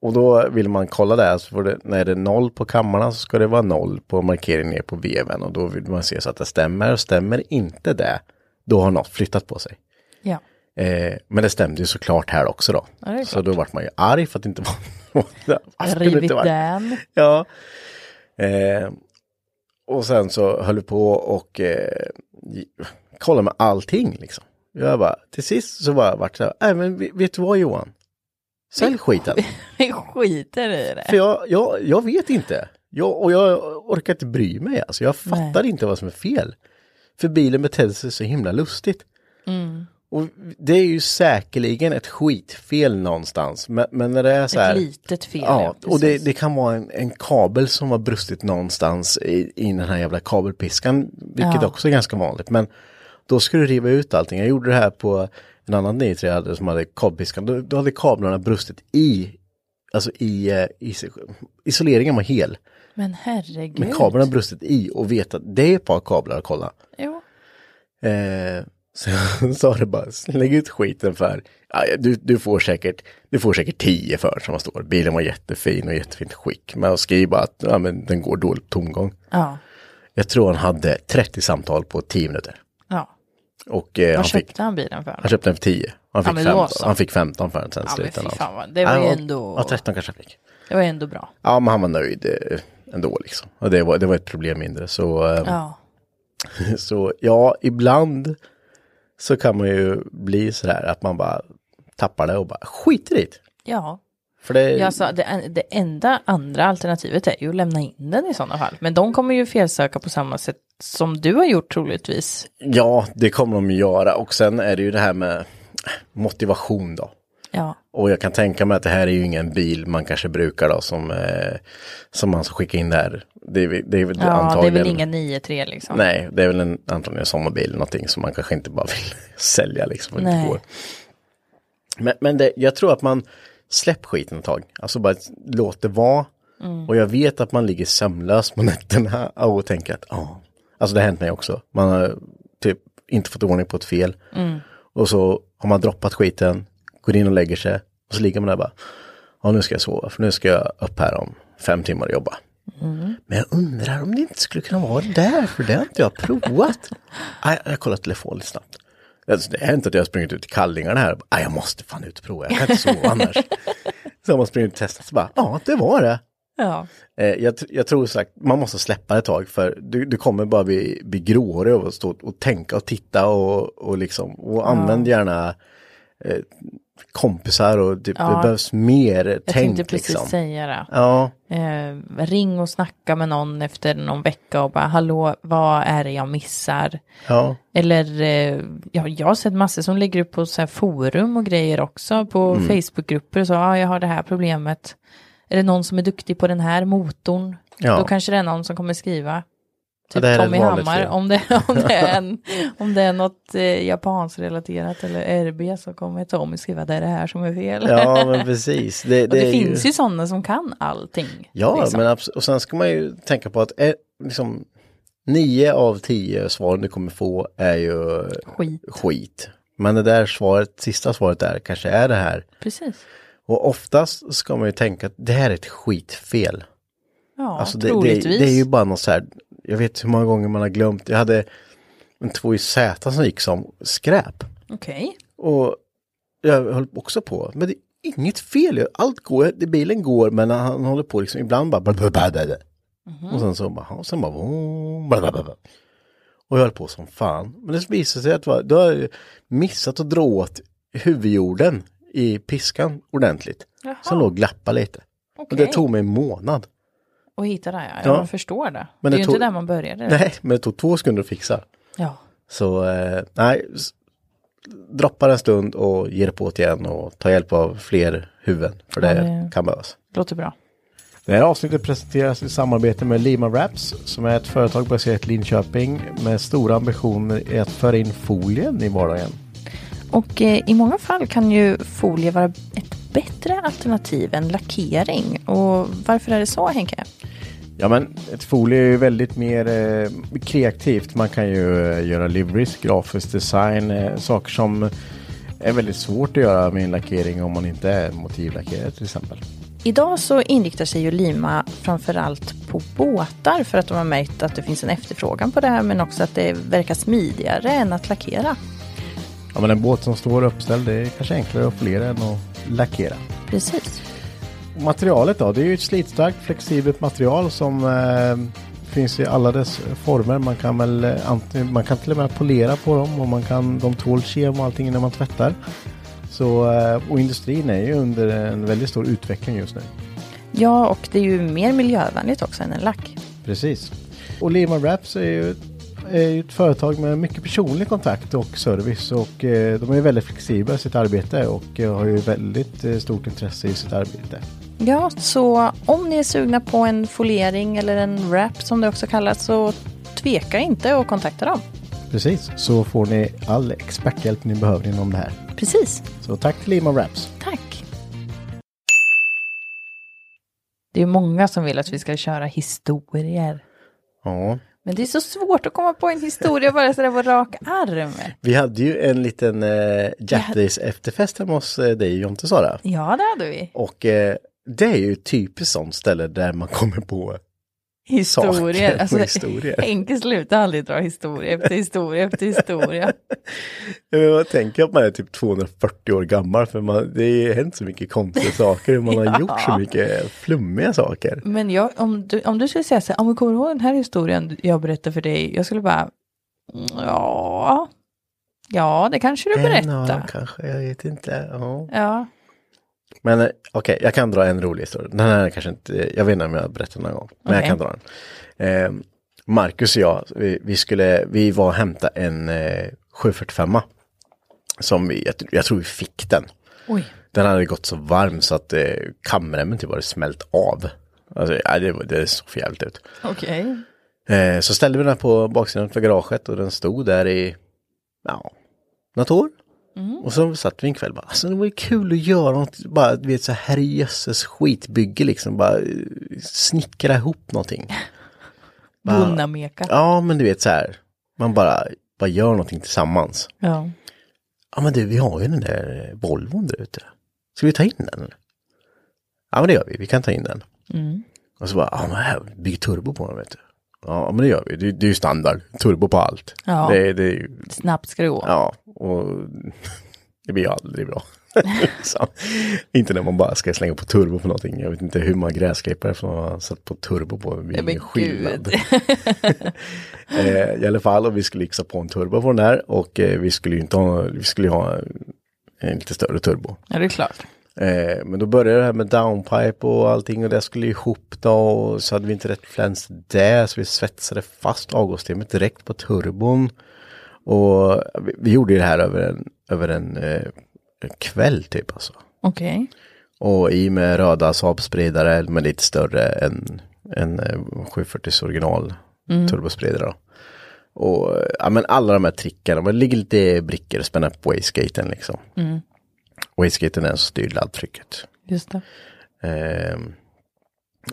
[SPEAKER 1] och då vill man kolla där, så får det, när det är noll på kammarna så ska det vara noll på markeringen ner på veven och då vill man se så att det stämmer. Och stämmer inte det, då har något flyttat på sig.
[SPEAKER 2] Ja.
[SPEAKER 1] Eh, men det stämde ju såklart här också då.
[SPEAKER 2] det är
[SPEAKER 1] så då vart man ju arg för att det inte var Varför kunde Alltså, det
[SPEAKER 2] Rivit
[SPEAKER 1] inte varit-
[SPEAKER 2] den.
[SPEAKER 1] Ja. Eh, och sen så höll vi på och eh, gi- kollade med allting liksom. Jag bara, till sist så var jag vart så här, nej men vet- vet du vad Johan? Sälj skiten.
[SPEAKER 2] Vi skiter i det.
[SPEAKER 1] För jag, jag, jag vet inte. Jag, och jag orkar inte bry mig. Alltså, jag fattar inte vad som är fel. För bilen betedde sig så himla lustigt.
[SPEAKER 2] Mm.
[SPEAKER 1] Och det är ju säkerligen ett skitfel någonstans. Men, men när det är så här.
[SPEAKER 2] Ett litet fel.
[SPEAKER 1] Ja, och det,
[SPEAKER 2] precis.
[SPEAKER 1] det kan vara en, en kabel som har brustit någonstans i, i den här jävla kabelpiskan, vilket
[SPEAKER 2] Ja.
[SPEAKER 1] också är ganska vanligt. Men då ska du riva ut allting. Jag gjorde det här på en annan 93 jag hade som hade kabelpiskan. Då, då hade kablarna brustit i, alltså i, eh, i isoleringen var hel.
[SPEAKER 2] Men herregud.
[SPEAKER 1] Men kablarna har brustit i och vet att det är ett par kablar att kolla.
[SPEAKER 2] Jo.
[SPEAKER 1] Eh, så jag sa det bara, lägg ut skiten för, ja, du, du får säkert, du får säkert tio för som man står. Bilen var jättefin och jättefint skick. Men skriv bara att ja, men den går dåligt på tomgång.
[SPEAKER 2] Ja.
[SPEAKER 1] Jag tror han hade 30 samtal på 10 minuter.
[SPEAKER 2] ja.
[SPEAKER 1] Och eh, han,
[SPEAKER 2] Vad
[SPEAKER 1] fick,
[SPEAKER 2] köpte han bilen
[SPEAKER 1] han
[SPEAKER 2] för?
[SPEAKER 1] köpte den för 10. Han
[SPEAKER 2] Ja,
[SPEAKER 1] fick,
[SPEAKER 2] men då
[SPEAKER 1] 15,
[SPEAKER 2] så.
[SPEAKER 1] han fick 15 för den sen
[SPEAKER 2] Ja, men
[SPEAKER 1] slutändan.
[SPEAKER 2] fy fan vad- det var ju
[SPEAKER 1] Ja,
[SPEAKER 2] ändå-
[SPEAKER 1] Ja, 13 kanske han fick.
[SPEAKER 2] Det var ändå bra.
[SPEAKER 1] Ja, men han var nöjd. eh, ändå liksom. Och det var, det var ett problem mindre. Så, eh,
[SPEAKER 2] Ja.
[SPEAKER 1] så ja, ibland så kan man ju bli så här att man bara tappar det och bara skiter i det.
[SPEAKER 2] Ja.
[SPEAKER 1] För det,
[SPEAKER 2] Ja, alltså, det, en- det enda andra alternativet är ju att lämna in den i sådana fall. Men de kommer ju felsöka på samma sätt som du har gjort troligtvis.
[SPEAKER 1] ja, det kommer de ju göra. Och sen är det ju det här med motivation då.
[SPEAKER 2] Ja,
[SPEAKER 1] Och jag kan tänka mig att det här är ju ingen bil man kanske brukar då som, eh, som man ska skicka in där. Det är, väl- det är väl
[SPEAKER 2] ja det är
[SPEAKER 1] antagligen.
[SPEAKER 2] väl inga 9-3 liksom.
[SPEAKER 1] Nej, det är väl en, antagligen en sommarbil eller någonting som man kanske inte bara vill sälja liksom. om det inte
[SPEAKER 2] Nej.
[SPEAKER 1] går. Men, men det, jag tror att man släpp skiten ett tag. Alltså bara låt det vara. Och jag vet att man ligger sömnlös på nätterna och tänker att ja, alltså det har hänt mig också. Man har typ inte fått ordning på ett fel. Och så har man droppat skiten, går in och lägger sig och så ligger man där och bara, ja nu ska jag sova för nu ska jag upp här om fem timmar och jobba. Men jag undrar om det inte skulle kunna vara det där, för det har inte jag provat. Aj, jag kollar telefonen lite snabbt. Alltså, det har hänt att jag har sprungit ut i kallingarna här. Aj, jag måste fan ut och prova, jag kan inte sova annars. Så har man sprungit och testat, så bara, ja det var det.
[SPEAKER 2] Ja,
[SPEAKER 1] Eh, jag, tr- jag tror sagt, man måste släppa det ett tag för du, du kommer bara bli, bli gråhårig av att stå och tänka och titta och, och liksom, och använd gärna eh, kompisar och typ, det behövs mer
[SPEAKER 2] jag
[SPEAKER 1] tänk
[SPEAKER 2] tänkte precis
[SPEAKER 1] liksom.
[SPEAKER 2] säga det.
[SPEAKER 1] Ja,
[SPEAKER 2] Eh, ring och snacka med någon efter någon vecka och bara hallå, vad är det jag missar?
[SPEAKER 1] ja.
[SPEAKER 2] Eller eh, ja, jag har sett massor som lägger upp på så här forum och grejer också på
[SPEAKER 1] Mm.
[SPEAKER 2] Facebookgrupper och så, ja, jag har det här problemet. Är det någon som är duktig på den här motorn?
[SPEAKER 1] Ja.
[SPEAKER 2] Då kanske det är någon som kommer skriva. Typ
[SPEAKER 1] det här är
[SPEAKER 2] Tommy
[SPEAKER 1] ett vanligt
[SPEAKER 2] Hammar,
[SPEAKER 1] fel.
[SPEAKER 2] om det, om, det är en, om det är något eh, japansrelaterat eller RB så kommer Tommy skriva det är det här som är fel.
[SPEAKER 1] ja, men precis. Det,
[SPEAKER 2] och det,
[SPEAKER 1] är
[SPEAKER 2] finns ju sådana som kan allting.
[SPEAKER 1] Ja,
[SPEAKER 2] liksom.
[SPEAKER 1] men absolut. Och sen ska man ju tänka på att eh, liksom, nio av tio svaren du kommer få är ju
[SPEAKER 2] Skit,
[SPEAKER 1] skit. Men det där svaret, sista svaret där kanske är det här.
[SPEAKER 2] precis.
[SPEAKER 1] Och oftast ska man ju tänka att det här är ett skitfel.
[SPEAKER 2] Ja,
[SPEAKER 1] Alltså det, det,
[SPEAKER 2] troligtvis.
[SPEAKER 1] det är ju bara något så här, jag vet hur många gånger man har glömt, jag hade en 2YZ som gick som skräp.
[SPEAKER 2] Okej.
[SPEAKER 1] Och jag höll också på, men det är inget fel, allt går, det, bilen går men han håller på liksom ibland bara blablabla. Och sen så bara, och sen bara vroom, blablabla. Och jag höll på som fan. Men det visade sig att det var- då har jag missat att dra åt huvudjorden i piskan ordentligt. Som låg och glappade lite. Och det
[SPEAKER 2] Okej.
[SPEAKER 1] tog mig en månad.
[SPEAKER 2] Och hitta det, ja.
[SPEAKER 1] Ja.
[SPEAKER 2] Jag förstår det.
[SPEAKER 1] Men det
[SPEAKER 2] det är ju
[SPEAKER 1] tog-
[SPEAKER 2] inte där man började.
[SPEAKER 1] Nej, men det tog två sekunder att fixa.
[SPEAKER 2] Ja.
[SPEAKER 1] Så eh, nej, s- droppa det en stund och ge det på det igen och ta hjälp av fler huvuden. För det
[SPEAKER 2] Ja, det-
[SPEAKER 1] kan behövas.
[SPEAKER 2] Låter bra.
[SPEAKER 1] Det här avsnittet presenteras i samarbete med Lima Wraps som är ett företag baserat i Linköping med stora ambitioner i att föra in folien i vardagen.
[SPEAKER 2] Och eh, i många fall kan ju folie vara ett bättre alternativ än lackering. Och varför är det så Henke?
[SPEAKER 1] Ja men ett folie är ju väldigt mer eh, kreativt. Man kan ju eh, göra liveries, grafisk design, eh, saker som är väldigt svårt att göra med en lackering om man inte är motivlackerare till exempel.
[SPEAKER 2] Idag så inriktar sig ju Lima framförallt på båtar för att de har märkt att det finns en efterfrågan på det här men också att det verkar smidigare än att lackera.
[SPEAKER 1] Ja men en båt som står uppställd det är kanske enklare att polera än att lackera.
[SPEAKER 2] Precis.
[SPEAKER 1] Materialet då, det är ju ett slitstarkt flexibelt material som eh, finns i alla dess former. Man kan, väl, eh, antingen, man kan till och med polera på dem och man kan, de tål kem och allting när man tvättar. Så, eh, och industrin är ju under en väldigt stor utveckling just nu.
[SPEAKER 2] Ja, och det är ju mer miljövänligt också än en lack.
[SPEAKER 1] Precis. Och Lehman Wraps är ju, är ju ett företag med mycket personlig kontakt och service och eh, de är ju väldigt flexibla i sitt arbete och eh, har ju väldigt eh, stort intresse i sitt arbete.
[SPEAKER 2] Ja, så om ni är sugna på en foliering eller en wrap som det också kallas så tveka inte och kontakta dem.
[SPEAKER 1] Precis, så får ni all experthjälp ni behöver inom det här.
[SPEAKER 2] Precis,
[SPEAKER 1] Så tack till Lehman Wraps.
[SPEAKER 2] tack. Det är ju många som vill att vi ska köra historier.
[SPEAKER 1] Ja,
[SPEAKER 2] Men det är så svårt att komma på en historia bara sådär på rak arm.
[SPEAKER 1] vi hade ju en liten eh, Jack
[SPEAKER 2] Ja.
[SPEAKER 1] Days efterfest hemma hos eh, dig Jonte Sara.
[SPEAKER 2] Ja, det hade vi.
[SPEAKER 1] Och eh, det är ju ett typiskt sånt ställe där man kommer på
[SPEAKER 2] Historier.
[SPEAKER 1] Saker
[SPEAKER 2] Alltså,
[SPEAKER 1] och historier.
[SPEAKER 2] Henke slutar aldrig dra historia efter historia efter historia.
[SPEAKER 1] Jag tänker att man är typ 240 år gammal för man, det har hänt så mycket konstiga saker och man har gjort så mycket flummiga saker.
[SPEAKER 2] Men jag, om, du, om du skulle säga så här, om du kommer ihåg den här historien jag berättade för dig, jag skulle bara, "Mm, ja, ja det kanske du
[SPEAKER 1] En av dem
[SPEAKER 2] berättar.
[SPEAKER 1] Eh, kanske, jag vet inte. Ja.
[SPEAKER 2] Ja,
[SPEAKER 1] Men eh, okej, jag kan dra en rolig historia. Den här är kanske inte, jag vet inte om jag berättar någon gång, men jag
[SPEAKER 2] Okej.
[SPEAKER 1] kan dra den. Eh, Marcus och jag, vi, vi skulle, vi var och hämtade en eh, 745 som vi, jag, jag tror vi fick den.
[SPEAKER 2] oj,
[SPEAKER 1] Den hade gått så varm så att eh, kamremmen typ hade smält av. Alltså, nej, det, var- det såg för jävligt ut.
[SPEAKER 2] okej.
[SPEAKER 1] Eh, så ställde vi den här på baksidan för garaget och den stod där i, ja, något år. Och så satt vi en kväll och bara, alltså det var ju kul att göra något, bara du vet så här herrejösses skitbygge liksom, bara eh, snickra ihop någonting. Bara-
[SPEAKER 2] Bonnameka.
[SPEAKER 1] Ja, men du vet så här, man bara, bara gör någonting tillsammans.
[SPEAKER 2] Ja.
[SPEAKER 1] Ja men du, vi har ju den där eh, Volvon där ute. Ska vi ta in den? eller? Ja men det gör vi, vi kan ta in den. Och så bara, ja men här, bygg turbo på den vet du. Ja men det gör vi, det, det är ju standard, turbo på allt.
[SPEAKER 2] Ja.
[SPEAKER 1] Det, det, är ju-
[SPEAKER 2] Snabbt ska det gå.
[SPEAKER 1] ja och det blir ju aldrig bra. liksom. Inte när man bara ska slänga på turbo på någonting. Jag vet inte hur många gräsklippare som har satt på turbo på. Det blir
[SPEAKER 2] men
[SPEAKER 1] ingen skillnad. eh, I alla fall, och vi skulle yxa på en turbo på den här och eh, vi skulle ju inte ha, vi skulle ju ha en lite större turbo.
[SPEAKER 2] Ja, det är klart.
[SPEAKER 1] Eh, men då började det här med downpipe och allting och det skulle ju ihop då och så hade vi inte rätt fläns där så vi svetsade fast avgassystemet direkt på turbon. Och vi, vi gjorde ju det här över en, över en, eh, en kväll typ alltså.
[SPEAKER 2] Okej.
[SPEAKER 1] Och i med röda Saab-spridare, men lite större än, än eh, 740s original turbospridare. Då. Och eh, ja, men alla de här trickarna, man ligger lite i brickor och spänner upp wastegaten liksom. Wastegaten är den som styr laddtrycket.
[SPEAKER 2] Just det.
[SPEAKER 1] Ehm,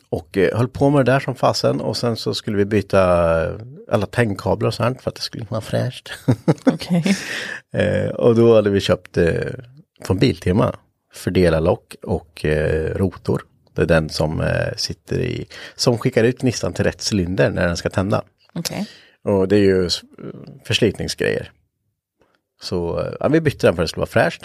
[SPEAKER 1] och eh, höll på med det där som fasen och sen så skulle vi byta eh, alla tändkablar och sånt för att det skulle vara fräscht.
[SPEAKER 2] Okej.
[SPEAKER 1] Eh, och då hade vi köpt eh, från Biltema fördelarlock och eh, rotor. Det är den som eh, sitter i, som skickar ut gnistan till rätt cylinder när den ska tända.
[SPEAKER 2] Okej.
[SPEAKER 1] Och det är ju s- eh, förslitningsgrejer. Så eh, ja, vi bytte den för att det skulle vara fräscht.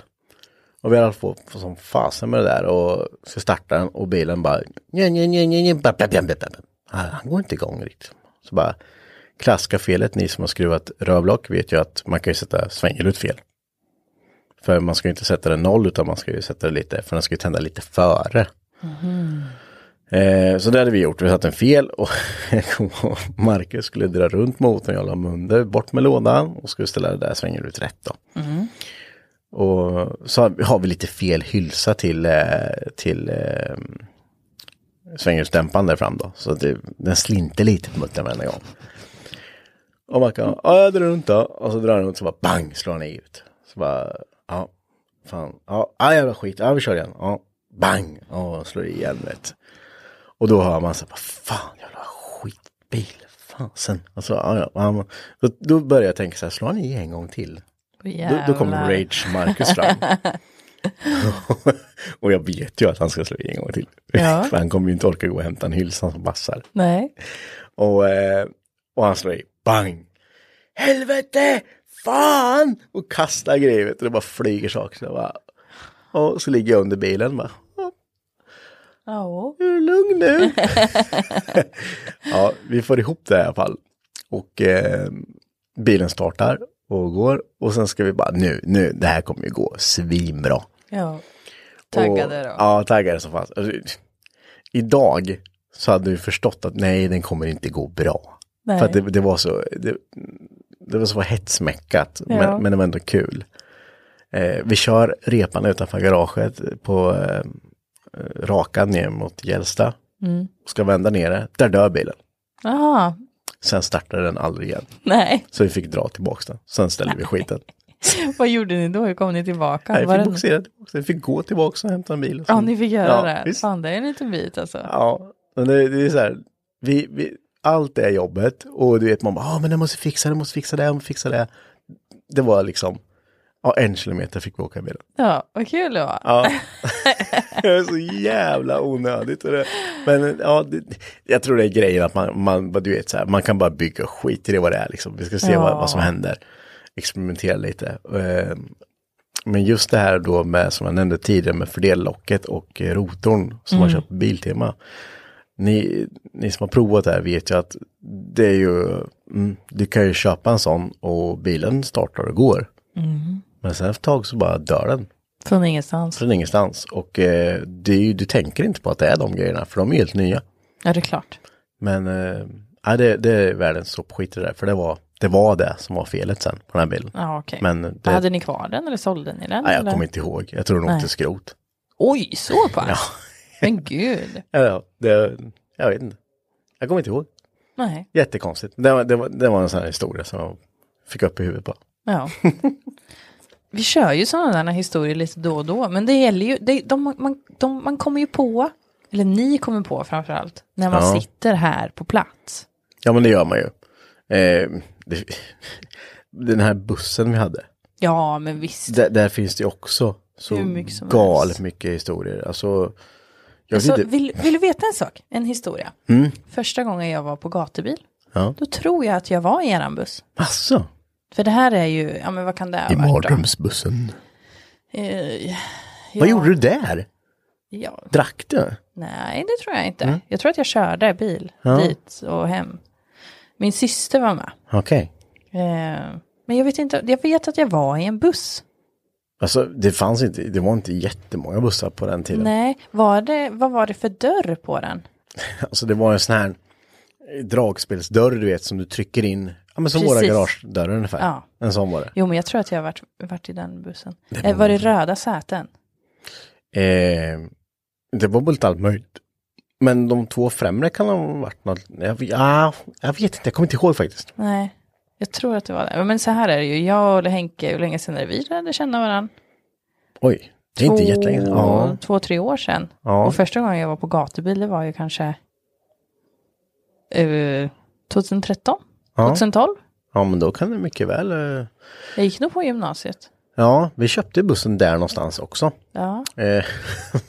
[SPEAKER 1] Och vi har hållit på på som fasen med det där och ska starta den och bilen bara nja, nja, nja, nja, nja, bla, bla, bla, bla, bla. Ah, Han går inte igång riktigt. Så bara klassiska felet, ni som har skruvat rövlock vet ju att man kan ju sätta svängelut fel. För man ska ju inte sätta det noll utan man ska ju sätta det lite, för den ska ju tända lite före. Eh, så det hade vi gjort, vi satte en fel och jag kommer ihåg, Marcus skulle dra runt motorn, jag la mig under, bort med lådan och skulle ställa det där svänger ut rätt då. Och så har vi- har vi lite fel hylsa till, eh, till eh, svängrumsdämparen där fram då. Så att det, den slinter lite på muttern varenda gång. Och Marcus, ja jag drar runt då. Och så drar han runt så bara bang slår han i ut. Så bara, ja, fan, ja, ja jävla skit, ja vi kör igen. Ja, bang, och slår i igen vet. Och då hör man så här, vad fan jävla skitbil, fasen. Alltså, ja, ja, ja, man- då, då börjar jag tänka så här, slår han i en gång till? Då, då kommer Rage Marcus fram. och jag vet ju att han ska slå i en gång till.
[SPEAKER 2] Ja.
[SPEAKER 1] För han kommer ju inte orka gå och hämta en hylsa som bassar.
[SPEAKER 2] Nej.
[SPEAKER 1] Och, eh, och han slår i, bang! Helvete! Fan! Och kastar grejer, vet du, det bara flyger saker. Så jag bara, och så ligger jag under bilen bara, "Ja,
[SPEAKER 2] Ja.
[SPEAKER 1] är du lugn nu? ja, vi får ihop det i alla fall. Och eh, bilen startar och går. Och sen ska vi bara, nu, nu, det här kommer ju gå svinbra.
[SPEAKER 2] ja. Taggade
[SPEAKER 1] och,
[SPEAKER 2] då.
[SPEAKER 1] Ja, taggade som fan. Alltså, idag så hade vi förstått att nej, den kommer inte gå bra.
[SPEAKER 2] Nej.
[SPEAKER 1] För att det, det var så, det, det var så hetsmäckat,
[SPEAKER 2] Ja.
[SPEAKER 1] men, men det var ändå kul. Eh, vi kör repan utanför garaget på eh, rakan ner mot Gällsta.
[SPEAKER 2] Mm.
[SPEAKER 1] Ska vända ner det, där dör bilen.
[SPEAKER 2] Aha.
[SPEAKER 1] Sen startade den aldrig igen.
[SPEAKER 2] Nej.
[SPEAKER 1] Så vi fick dra tillbaks den. Sen ställde vi skiten.
[SPEAKER 2] Vad gjorde ni då? Hur kom ni tillbaka?
[SPEAKER 1] Nej, vi
[SPEAKER 2] Var
[SPEAKER 1] fick
[SPEAKER 2] den-
[SPEAKER 1] boxera tillbaks den. Vi fick gå tillbaks och hämta en bil. och
[SPEAKER 2] Ja,
[SPEAKER 1] sen-
[SPEAKER 2] ni fick göra
[SPEAKER 1] Ja,
[SPEAKER 2] det.
[SPEAKER 1] visst.
[SPEAKER 2] Fan, det är en liten bit alltså.
[SPEAKER 1] Ja, men det, det är så här. Vi, vi, allt är jobbet och du vet man bara, ah, men jag måste fixa det, jag måste fixa det, jag måste fixa det. Det var liksom, Ja, en kilometer fick vi åka i bilen.
[SPEAKER 2] Ja, vad kul det var.
[SPEAKER 1] Ja. det är så jävla onödigt. Och det, men ja, det, jag tror det är grejen att man, man, vad du vet, så här, man kan bara bygga skit i det vad det är. Liksom. Vi ska se
[SPEAKER 2] Ja.
[SPEAKER 1] vad, vad som händer. Experimentera lite. Eh, Men just det här då med, som jag nämnde tidigare, med fördellocket och eh, rotorn som man köpt på Biltema. Ni, ni som har provat det här vet ju att det är ju, mm, du kan ju köpa en sån och bilen startar och går. Men sen efter ett tag så bara dör den
[SPEAKER 2] Från ingenstans.
[SPEAKER 1] från ingenstans. Och eh, det är ju, du tänker inte på att det är de grejerna, för de är helt nya.
[SPEAKER 2] Ja, det är klart.
[SPEAKER 1] Men eh, ja, det, det är världens sopskit det där, för det var, det var det som var felet sen på den här bilen.
[SPEAKER 2] Ja, okej.
[SPEAKER 1] Men det,
[SPEAKER 2] Hade ni kvar den eller sålde ni den?
[SPEAKER 1] nej, jag
[SPEAKER 2] eller?
[SPEAKER 1] kommer inte ihåg, jag tror nog
[SPEAKER 2] Nej.
[SPEAKER 1] till skrot.
[SPEAKER 2] Oj, så pass?
[SPEAKER 1] Ja.
[SPEAKER 2] Men gud.
[SPEAKER 1] Ja, ja, det, jag vet inte. Jag kommer inte ihåg.
[SPEAKER 2] Nej.
[SPEAKER 1] Jättekonstigt. Det var, det var, det var en sån här historia som jag fick upp i huvudet på.
[SPEAKER 2] Ja. Vi kör ju sådana där historier lite då och då. Men det gäller ju, det, de, man, de, man kommer ju på, eller ni kommer på framförallt, när man
[SPEAKER 1] Ja.
[SPEAKER 2] sitter här på plats.
[SPEAKER 1] Ja, men det gör man ju. Eh, det, den här bussen vi hade,
[SPEAKER 2] Ja, men visst.
[SPEAKER 1] Där, där finns det ju också så
[SPEAKER 2] Hur mycket som
[SPEAKER 1] galet
[SPEAKER 2] helst.
[SPEAKER 1] mycket historier. Alltså, jag
[SPEAKER 2] Alltså,
[SPEAKER 1] vet inte.
[SPEAKER 2] vill, vill du veta en sak? En historia. Första gången jag var på gatubil,
[SPEAKER 1] Ja.
[SPEAKER 2] då tror jag att jag var i eran buss.
[SPEAKER 1] Alltså,
[SPEAKER 2] För det här är ju, ja men vad kan det ha
[SPEAKER 1] i
[SPEAKER 2] varit då?
[SPEAKER 1] mardrömsbussen.
[SPEAKER 2] Eh, ja,
[SPEAKER 1] Vad gjorde du där?
[SPEAKER 2] Ja,
[SPEAKER 1] Drack du?
[SPEAKER 2] Nej, det tror jag inte.
[SPEAKER 1] Mm.
[SPEAKER 2] Jag tror att jag körde bil dit och hem. Min syster var med.
[SPEAKER 1] Okej.
[SPEAKER 2] Eh, men jag vet inte, jag vet att jag var i en buss.
[SPEAKER 1] Alltså, det fanns inte, det var inte jättemånga bussar på den tiden.
[SPEAKER 2] Nej, var det, vad var det för dörr på den?
[SPEAKER 1] Alltså, det var en sån här dragspelsdörr, du vet, som du trycker in. Ja, men som våra
[SPEAKER 2] Precis.
[SPEAKER 1] garagedörrar ungefär.
[SPEAKER 2] Ja.
[SPEAKER 1] En sån var det.
[SPEAKER 2] Jo, men jag tror att jag har varit, varit i den bussen. eh, var det röda säten?
[SPEAKER 1] Eh, det var väl inte allt möjligt. Men de två främre kan ha varit något. Jag, ja, jag vet inte, jag kommer inte ihåg faktiskt.
[SPEAKER 2] Nej, jag tror att det var det. Men så här är det ju, jag och Henke, hur länge sedan är det vi lärde känna varandra?
[SPEAKER 1] Oj, det är inte jättelänge sedan. Ja.
[SPEAKER 2] Två, tre år sedan.
[SPEAKER 1] Ja.
[SPEAKER 2] Och första gången jag var på gatubil, det var ju kanske eh, 2013,
[SPEAKER 1] Ja.
[SPEAKER 2] 2012.
[SPEAKER 1] ja, men då kan det mycket väl. eh,
[SPEAKER 2] Jag gick nog på gymnasiet.
[SPEAKER 1] Ja, vi köpte bussen där någonstans också.
[SPEAKER 2] Ja,
[SPEAKER 1] Eh,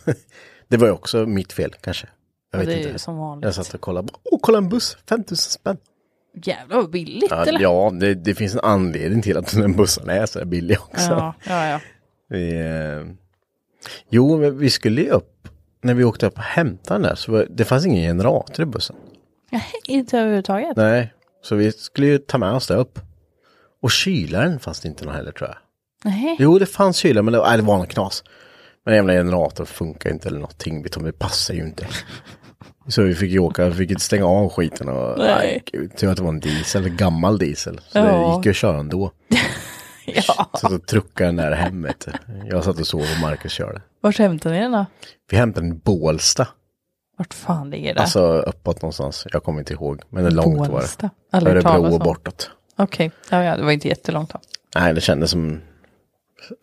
[SPEAKER 1] det var ju också mitt fel kanske. Jag
[SPEAKER 2] och
[SPEAKER 1] vet
[SPEAKER 2] det är ju
[SPEAKER 1] inte.
[SPEAKER 2] som vanligt.
[SPEAKER 1] Jag satt och kollade. bara, Åh, kolla en buss! 5000 spänn.
[SPEAKER 2] Jävlar vad billigt
[SPEAKER 1] Ja,
[SPEAKER 2] eller?
[SPEAKER 1] ja det, det finns en anledning till att den bussen är så här billig också.
[SPEAKER 2] ja, ja, ja.
[SPEAKER 1] Vi, eh, jo, men vi skulle ju upp. När vi åkte upp och hämtade den där så var, det fanns ingen generator i bussen.
[SPEAKER 2] Nej, inte överhuvudtaget.
[SPEAKER 1] Nej, så vi skulle ju ta med oss det upp. Och kylaren fanns det inte någon heller tror jag.
[SPEAKER 2] Nej.
[SPEAKER 1] Jo, det fanns kyla, men det, nej, det var något knas. Men den jävla generatorn funkar inte eller någonting. Vi tog- Det passar ju inte. Så vi fick ju åka, vi fick inte stänga av skiten. Och,
[SPEAKER 2] Nej.
[SPEAKER 1] nej. gud, tur att det var en diesel, en gammal diesel. Så det
[SPEAKER 2] Ja.
[SPEAKER 1] gick ju att köra ändå.
[SPEAKER 2] Ja.
[SPEAKER 1] Så, så truckade den där hem. vet du. Jag satt och sov och Marcus körde.
[SPEAKER 2] Vart hämtade ni den då?
[SPEAKER 1] Vi hämtade en Bålsta.
[SPEAKER 2] Vart fan ligger det?
[SPEAKER 1] Alltså uppåt någonstans. Jag kommer inte ihåg. Men det är långt var det.
[SPEAKER 2] Bålsta. Aldrig hört talas
[SPEAKER 1] Örebro och
[SPEAKER 2] om.
[SPEAKER 1] bortåt.
[SPEAKER 2] Okej, ja, ja, det var inte jättelångt då.
[SPEAKER 1] Nej, det kändes som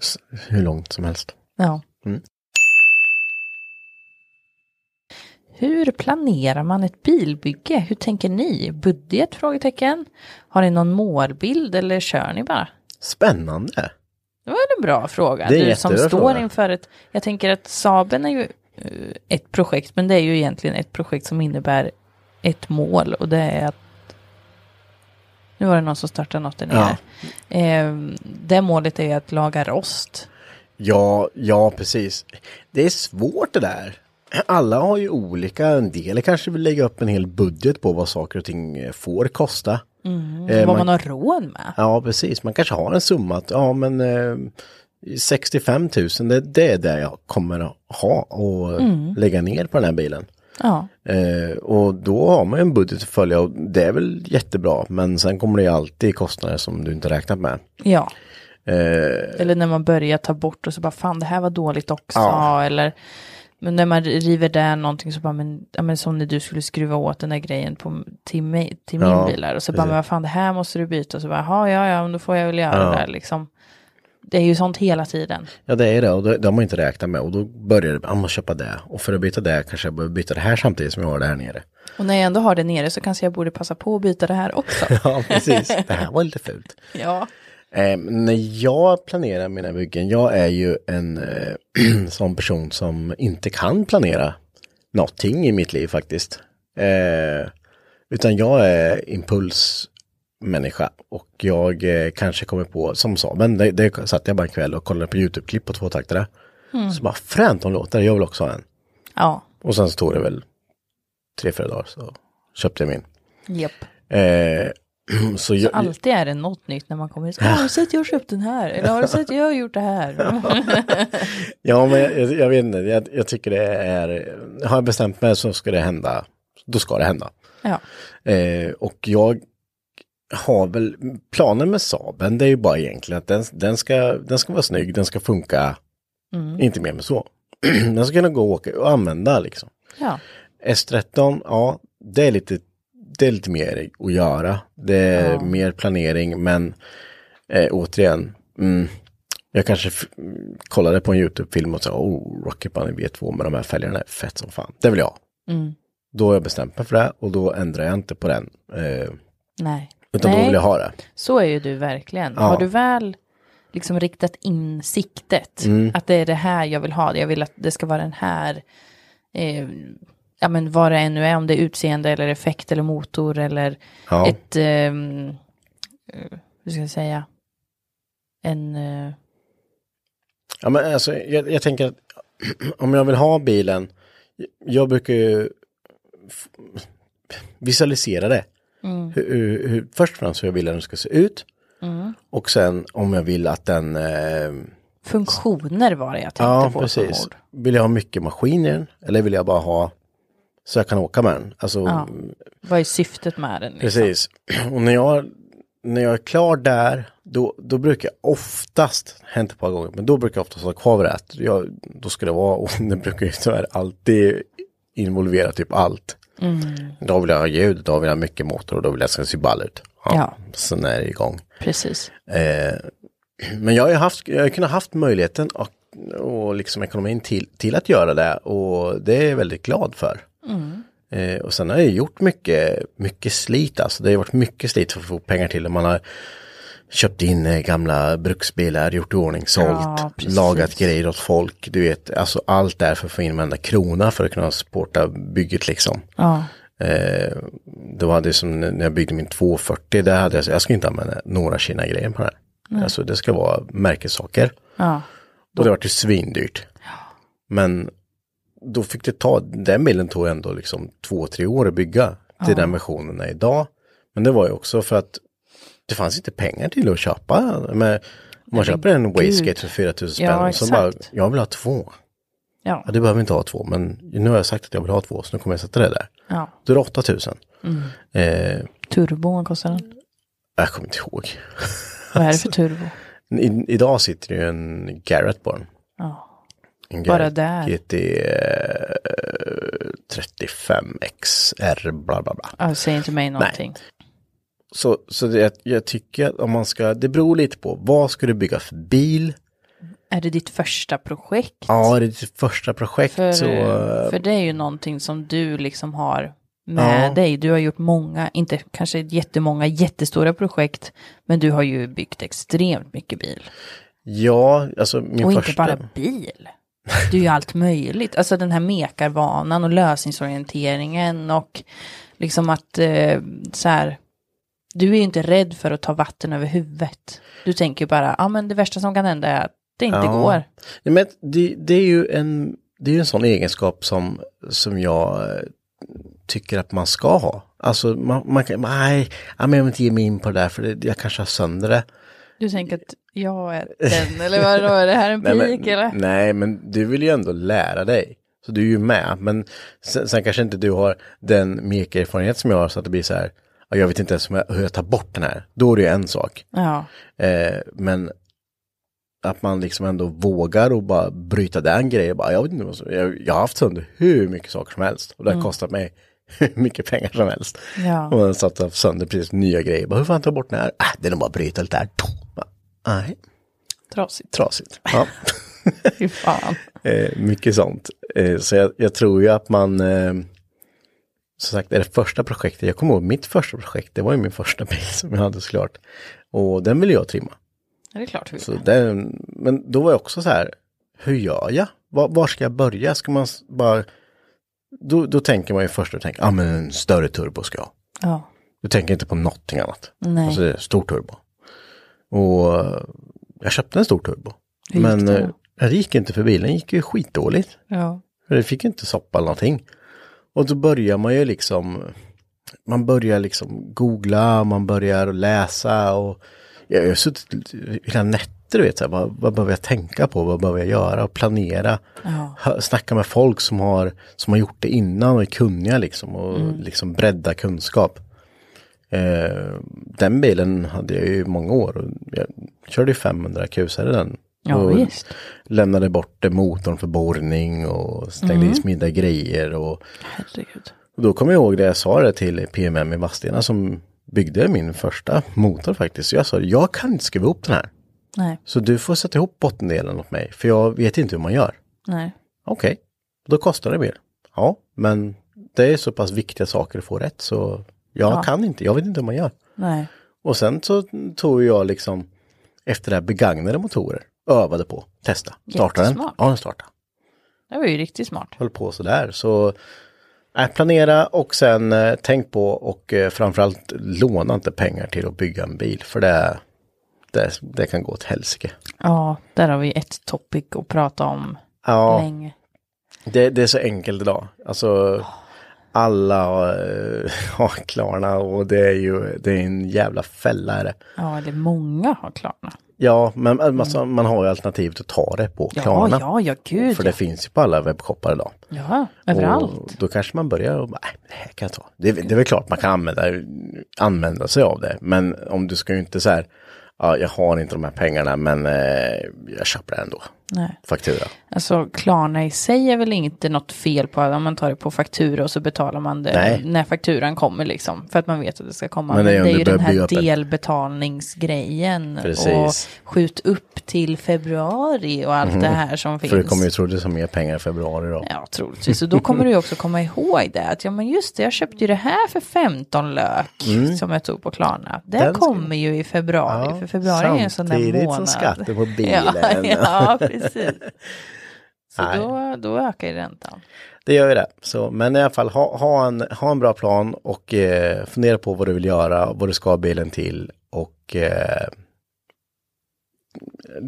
[SPEAKER 1] s- hur långt som helst.
[SPEAKER 2] Ja.
[SPEAKER 1] Mm.
[SPEAKER 2] Hur planerar man ett bilbygge? Hur tänker ni? Budget? Frågetecken. Har ni någon målbild eller kör ni bara?
[SPEAKER 1] Spännande.
[SPEAKER 2] Det var en bra fråga.
[SPEAKER 1] Det är en
[SPEAKER 2] du som
[SPEAKER 1] jättebra
[SPEAKER 2] står
[SPEAKER 1] fråga.
[SPEAKER 2] inför ett... Jag tänker att Saben är ju eh, ett projekt, men det är ju egentligen ett projekt som innebär ett mål och det är att... Nu var det någon som startade något där nere. Eh, det målet är att laga rost.
[SPEAKER 1] Ja, ja precis. Det är svårt det där. Alla har ju olika, en del kanske vill lägga upp en hel budget på vad saker och ting eh, får kosta. Eh,
[SPEAKER 2] vad
[SPEAKER 1] man-
[SPEAKER 2] man har råd med.
[SPEAKER 1] Ja, precis. Man kanske har en summa att, ja men eh, 65 000, det, det är det jag kommer att ha och lägga ner på den här bilen.
[SPEAKER 2] Ja.
[SPEAKER 1] Eh, och då har man ju en budget att följa och det är väl jättebra, men sen kommer det ju alltid kostnader som du inte räknat med.
[SPEAKER 2] ja.
[SPEAKER 1] Eh,
[SPEAKER 2] Eller när man börjar ta bort och så bara fan det här var dåligt också.
[SPEAKER 1] Ja.
[SPEAKER 2] Eller men när man river där någonting så bara men, ja, men som när du skulle skruva åt den där grejen på, till, mig, till min
[SPEAKER 1] Ja,
[SPEAKER 2] bil där. Och så bara
[SPEAKER 1] precis.
[SPEAKER 2] men vad fan det här måste du byta. Så bara "Jaha, ja ja men då får jag väl göra det där liksom. Det är ju sånt hela tiden.
[SPEAKER 1] Ja det är det och det, det har man inte räknat med och då börjar det, jag måste köpa det och för att byta det kanske jag behöver byta det här samtidigt som jag har det här nere.
[SPEAKER 2] Och när jag ändå har det nere så kanske jag borde passa på att byta det här också.
[SPEAKER 1] Ja precis, det här var lite fult.
[SPEAKER 2] ja.
[SPEAKER 1] Eh, när jag planerar mina byggen, jag är ju en eh, sån person som inte kan planera någonting i mitt liv faktiskt. Eh, utan jag är impulsmänniska och jag eh, kanske kommer på, som sa, men det, det satt jag bara en kväll och kollade på YouTube-klipp på tvåtaktare. Så bara fränt de låter, jag vill också ha en.
[SPEAKER 2] Ja,
[SPEAKER 1] Och sen så tog det väl tre, fyra dagar så köpte jag min.
[SPEAKER 2] japp.
[SPEAKER 1] Eh, så jag,
[SPEAKER 2] Alltid är det något nytt när man kommer hit. Har du sett jag har köpt den här? Eller har du sett jag har gjort det här?
[SPEAKER 1] Ja, men jag, jag vet inte, jag, jag tycker det är, har jag bestämt mig så ska det hända, då ska det hända.
[SPEAKER 2] Ja,
[SPEAKER 1] Eh, och jag har väl, planen med Saben det är ju bara egentligen att den, den, ska, den ska vara snygg, den ska funka, inte mer med så. den ska kunna gå och åka och använda liksom.
[SPEAKER 2] ja.
[SPEAKER 1] S13, ja, det är lite, det är lite mer att göra. Det är mer planering, men eh, återigen, mm, jag kanske f- mm, kollade på en YouTube-film och sa, oh, Rocket Bunny V2 med de här fälgarna är fett som fan. Det vill jag.
[SPEAKER 2] Mm.
[SPEAKER 1] Då har jag bestämt mig för det och då ändrar jag inte på den. Eh,
[SPEAKER 2] nej.
[SPEAKER 1] utan då
[SPEAKER 2] Nej.
[SPEAKER 1] vill jag ha det.
[SPEAKER 2] Så är ju du verkligen. Har du väl liksom riktat in siktet,
[SPEAKER 1] Mm.
[SPEAKER 2] att det är det här jag vill ha, jag vill att det ska vara den här, eh, ja men vad det än nu är, om det är utseende eller effekt eller motor eller
[SPEAKER 1] Ja.
[SPEAKER 2] ett, ehm, eh, hur ska jag säga, en, eh,
[SPEAKER 1] Ja, men alltså, jag, jag tänker att om jag vill ha bilen, jag brukar ju f- visualisera det.
[SPEAKER 2] Mm.
[SPEAKER 1] Hur, hur, hur, först och främst hur jag vill att den ska se ut
[SPEAKER 2] Mm.
[SPEAKER 1] och sen om jag vill att den, eh,
[SPEAKER 2] funktioner var det jag tänkte
[SPEAKER 1] ja
[SPEAKER 2] på som
[SPEAKER 1] precis,
[SPEAKER 2] ord.
[SPEAKER 1] vill jag ha mycket maskin i den eller vill jag bara ha så jag kan åka med den. Alltså,
[SPEAKER 2] Vad är syftet med den? Liksom?
[SPEAKER 1] Precis. Och när jag, när jag är klar där, då, då brukar jag oftast, hänt ett par gånger, men då brukar jag oftast ha kvar det. Att jag, då ska det vara, och det brukar ju tyvärr alltid involvera typ allt.
[SPEAKER 2] Mm.
[SPEAKER 1] Då vill jag ha ljud, då vill jag ha mycket motor och då vill jag att det ska se ball ut.
[SPEAKER 2] Ja.
[SPEAKER 1] Sen är det igång.
[SPEAKER 2] Precis.
[SPEAKER 1] Eh, men jag har ju haft, jag har kunnat haft möjligheten och, och liksom ekonomin till, till att göra det och det är jag väldigt glad för.
[SPEAKER 2] Mm.
[SPEAKER 1] Eh, och sen har jag gjort mycket, mycket slit alltså. Det har ju varit mycket slit för att få pengar till det. Man har köpt in eh, gamla bruksbilar, gjort i ordning, sålt,
[SPEAKER 2] Ja, precis.
[SPEAKER 1] lagat grejer åt folk. Du vet, alltså allt där för att få in varenda krona för att kunna supporta bygget liksom.
[SPEAKER 2] Ja.
[SPEAKER 1] Eh, det var det som när jag byggde min 240, där hade jag, jag ska inte använda några Kina-grejer på den här. Alltså det ska vara märkessaker.
[SPEAKER 2] ja.
[SPEAKER 1] Och det var ju svindyrt. Men då fick det ta, den bilen tog ändå liksom två, tre år att bygga till den versionen är idag. Men det var ju också för att det fanns inte pengar till att köpa. Men om man köper en wastegate för 4000 spänn
[SPEAKER 2] Ja,
[SPEAKER 1] och så bara,
[SPEAKER 2] exakt.
[SPEAKER 1] jag vill ha två.
[SPEAKER 2] Ja.
[SPEAKER 1] Ja, du behöver inte ha två, men nu har jag sagt att jag vill ha två, så nu kommer jag sätta det där.
[SPEAKER 2] ja.
[SPEAKER 1] Då är det 8000.
[SPEAKER 2] Mm.
[SPEAKER 1] Eh,
[SPEAKER 2] Turbon kostar den.
[SPEAKER 1] jag kommer inte ihåg.
[SPEAKER 2] Vad är det för turbo?
[SPEAKER 1] I, idag sitter det ju en Garrett på den.
[SPEAKER 2] Ja.
[SPEAKER 1] En
[SPEAKER 2] Bara
[SPEAKER 1] Garrett
[SPEAKER 2] där.
[SPEAKER 1] GT eh, 35 XR bla bla bla.
[SPEAKER 2] Ja, säg inte mig någonting.
[SPEAKER 1] Så, så det, jag tycker att om man ska, det beror lite på, vad ska du bygga för bil?
[SPEAKER 2] Är det ditt första projekt?
[SPEAKER 1] Ja, är det ditt första projekt
[SPEAKER 2] för,
[SPEAKER 1] så... eh,
[SPEAKER 2] för det är ju någonting som du liksom har med
[SPEAKER 1] Ja.
[SPEAKER 2] dig. Du har gjort många, inte kanske jättemånga jättestora projekt, men du har ju byggt extremt mycket bil.
[SPEAKER 1] Ja, alltså min
[SPEAKER 2] och
[SPEAKER 1] första...
[SPEAKER 2] inte bara bil. Det är ju allt möjligt. Alltså den här mekarvanan och lösningsorienteringen och liksom att eh, så här. Du är ju inte rädd för att ta vatten över huvudet. Du tänker ju bara, ja ah, men det värsta som kan hända är att det inte
[SPEAKER 1] Ja.
[SPEAKER 2] går.
[SPEAKER 1] Nej, men det, det är ju en, det är ju en sån egenskap som, som jag eh, tycker att man ska ha. Alltså man, man kan, nej, ja, men jag vill inte ge mig in på det där för det, jag kanske har sönder det.
[SPEAKER 2] Du tänker att jag är den, eller vad då, är det här en pik
[SPEAKER 1] nej, men,
[SPEAKER 2] eller?
[SPEAKER 1] nej, men du vill ju ändå lära dig. Så du är ju med, men sen, sen kanske inte du har den mekerfarenhet som jag har så att det blir så här, ja, jag vet inte ens om jag- hur jag tar bort den här. Då är det ju en sak.
[SPEAKER 2] Ja,
[SPEAKER 1] Eh, men att man liksom ändå vågar och bara bryta den grejen. Bara, jag, vet inte, vad som- jag, jag har haft sönder hur mycket saker som helst och det har kostat mig hur mycket pengar som helst.
[SPEAKER 2] Ja.
[SPEAKER 1] Och man satt och haft sönder precis nya grejer. Bara, hur fan tar jag bort den här? Ah, det är nog bara att bryta lite där. Bara, Nej,
[SPEAKER 2] trasigt.
[SPEAKER 1] trasigt. Ja.
[SPEAKER 2] Fy fan.
[SPEAKER 1] Eh, mycket sånt. Eh, så jag, jag tror ju att man, eh, som sagt, är det första projektet, jag kommer ihåg mitt första projekt, det var ju min första bil som jag hade såklart. Och den ville jag trimma.
[SPEAKER 2] Ja, det är klart vi
[SPEAKER 1] Så
[SPEAKER 2] vill.
[SPEAKER 1] det, men då var jag också så här, hur gör jag? Var, var ska jag börja? Ska man s- bara... Då, då tänker man ju först och tänker, ja ah, men en större turbo ska jag ha.
[SPEAKER 2] Ja.
[SPEAKER 1] Du tänker inte på någonting annat.
[SPEAKER 2] Nej.
[SPEAKER 1] Alltså det är stor turbo. Och eh, jag köpte en stor turbo.
[SPEAKER 2] Hur gick
[SPEAKER 1] men
[SPEAKER 2] det
[SPEAKER 1] eh, det gick inte för bilen, gick ju skitdåligt.
[SPEAKER 2] ja.
[SPEAKER 1] För det fick ju inte soppa eller någonting. Och då börjar man ju liksom, man börjar liksom googla, man börjar läsa och jag har ju suttit hela nätter, du vet, så här, vad, vad behöver jag tänka på, vad behöver jag göra och planera. Hö- Snacka med folk som har, som har gjort det innan och är kunniga liksom och
[SPEAKER 2] Mm.
[SPEAKER 1] liksom bredda kunskap. Eh, den bilen hade jag ju i många år och jag körde ju 500 kusare i den.
[SPEAKER 2] Ja,
[SPEAKER 1] och
[SPEAKER 2] visst.
[SPEAKER 1] lämnade bort eh, motorn för borrning och stängde
[SPEAKER 2] Mm.
[SPEAKER 1] i smidda grejer. Och,
[SPEAKER 2] Herregud.
[SPEAKER 1] och då kommer jag ihåg det jag sa det till PMM i Vadstena som byggde min första motor faktiskt. Så jag sa, jag kan inte skruva ihop den här.
[SPEAKER 2] Nej,
[SPEAKER 1] Så du får sätta ihop bottendelen åt mig, för jag vet inte hur man gör.
[SPEAKER 2] nej.
[SPEAKER 1] Okej, då kostar det mer. Ja, men det är så pass viktiga saker att få rätt så jag kan inte, jag vet inte hur man gör.
[SPEAKER 2] Nej.
[SPEAKER 1] Och sen så tog jag liksom efter det här begagnade motorer, övade på, testa, starta den.
[SPEAKER 2] Jättesmart.
[SPEAKER 1] Ja, den startade.
[SPEAKER 2] Det var ju riktigt smart.
[SPEAKER 1] Höll på sådär. Så äh, planera och sen eh, tänk på och eh, framförallt låna inte pengar till att bygga en bil för det, det, det kan gå åt helsike.
[SPEAKER 2] Ja, där har vi ett topic att prata om
[SPEAKER 1] Ja.
[SPEAKER 2] länge.
[SPEAKER 1] Det, det är så enkelt idag. Alltså alla har, har Klarna och det är ju det är en jävla fälla är det.
[SPEAKER 2] Ja, eller många har Klarna.
[SPEAKER 1] Ja, men men alltså, man har ju alternativet att ta det på
[SPEAKER 2] Mm. Ja,
[SPEAKER 1] Klarna.
[SPEAKER 2] ja, ja, gud.
[SPEAKER 1] För det finns ju på alla webbshoppar idag.
[SPEAKER 2] Ja,
[SPEAKER 1] Och
[SPEAKER 2] överallt.
[SPEAKER 1] då kanske man börjar och bara, nej, det här kan jag ta. Det, är- det är väl klart man kan använda, använda sig av det. Men om du ska ju inte så här, ja, jag har inte de här pengarna men eh, jag köper det ändå.
[SPEAKER 2] Nej.
[SPEAKER 1] Faktura.
[SPEAKER 2] Alltså Klarna i sig är väl inte något fel på om man tar det på faktura och så betalar man det
[SPEAKER 1] Nej.
[SPEAKER 2] när fakturan kommer liksom. För att man vet att det ska komma.
[SPEAKER 1] Men
[SPEAKER 2] Men
[SPEAKER 1] det är
[SPEAKER 2] det är,
[SPEAKER 1] om du
[SPEAKER 2] ju
[SPEAKER 1] börjar
[SPEAKER 2] den
[SPEAKER 1] bygga
[SPEAKER 2] här
[SPEAKER 1] upp en-
[SPEAKER 2] delbetalningsgrejen.
[SPEAKER 1] Precis. Mhm.
[SPEAKER 2] Och skjut upp till februari och allt det här som finns.
[SPEAKER 1] För du kommer ju troligtvis ha mer pengar i februari då.
[SPEAKER 2] Ja, troligtvis. Och då kommer du ju också komma ihåg det. Att ja, men just det, jag köpte ju det här för 15 lök som jag tog på Klarna. Det
[SPEAKER 1] Mm. Den ska-
[SPEAKER 2] kommer ju i februari, för februari är ju en sån där
[SPEAKER 1] samtidigt
[SPEAKER 2] månad.
[SPEAKER 1] som skatten på bilen.
[SPEAKER 2] Ja, ja precis. Så
[SPEAKER 1] Nej.
[SPEAKER 2] då, då ökar ju räntan.
[SPEAKER 1] Det gör ju det. Så, men i alla fall, ha, ha, en, ha en bra plan och eh, fundera på vad du vill göra, vad du ska ha bilen till och eh,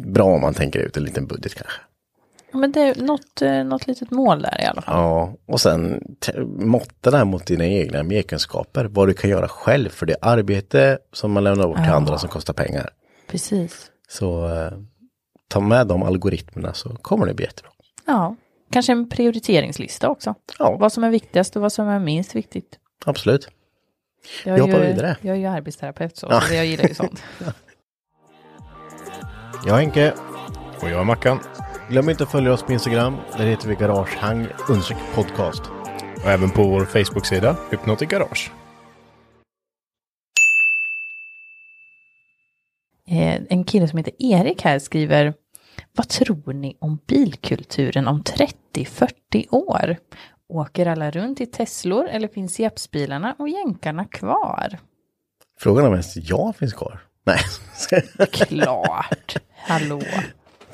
[SPEAKER 1] bra om man tänker ut en liten budget kanske.
[SPEAKER 2] Ja, Men det är något, eh, något litet mål där i alla fall.
[SPEAKER 1] Ja, och sen t- måtta det här mot dina egna merkunskaper, vad du kan göra själv, för det är arbete som man lämnar bort till andra som kostar pengar.
[SPEAKER 2] Precis.
[SPEAKER 1] Så eh, ta med de algoritmerna så kommer det bli jättebra.
[SPEAKER 2] Ja, kanske en prioriteringslista också.
[SPEAKER 1] Ja.
[SPEAKER 2] Vad som är viktigast och vad som är minst viktigt.
[SPEAKER 1] Absolut.
[SPEAKER 2] Jag, är
[SPEAKER 1] Vi hoppar
[SPEAKER 2] ju,
[SPEAKER 1] vidare.
[SPEAKER 2] Jag är ju arbetsterapeut så,
[SPEAKER 1] Ja.
[SPEAKER 2] så jag gillar ju sånt.
[SPEAKER 1] Jag är Henke.
[SPEAKER 3] Och jag är Mackan.
[SPEAKER 1] Glöm inte att följa oss på Instagram. Där heter vi Garagehang undersök podcast.
[SPEAKER 3] Och även på vår Facebook-sida Hypnotic Garage.
[SPEAKER 2] Eh, en kille som heter Erik här skriver Vad tror ni om bilkulturen om 30-40 år? Åker alla runt i Teslor eller finns japsbilarna och jänkarna kvar?
[SPEAKER 1] Frågan är om ens jag finns kvar. Nej,
[SPEAKER 2] Klart! Hallå!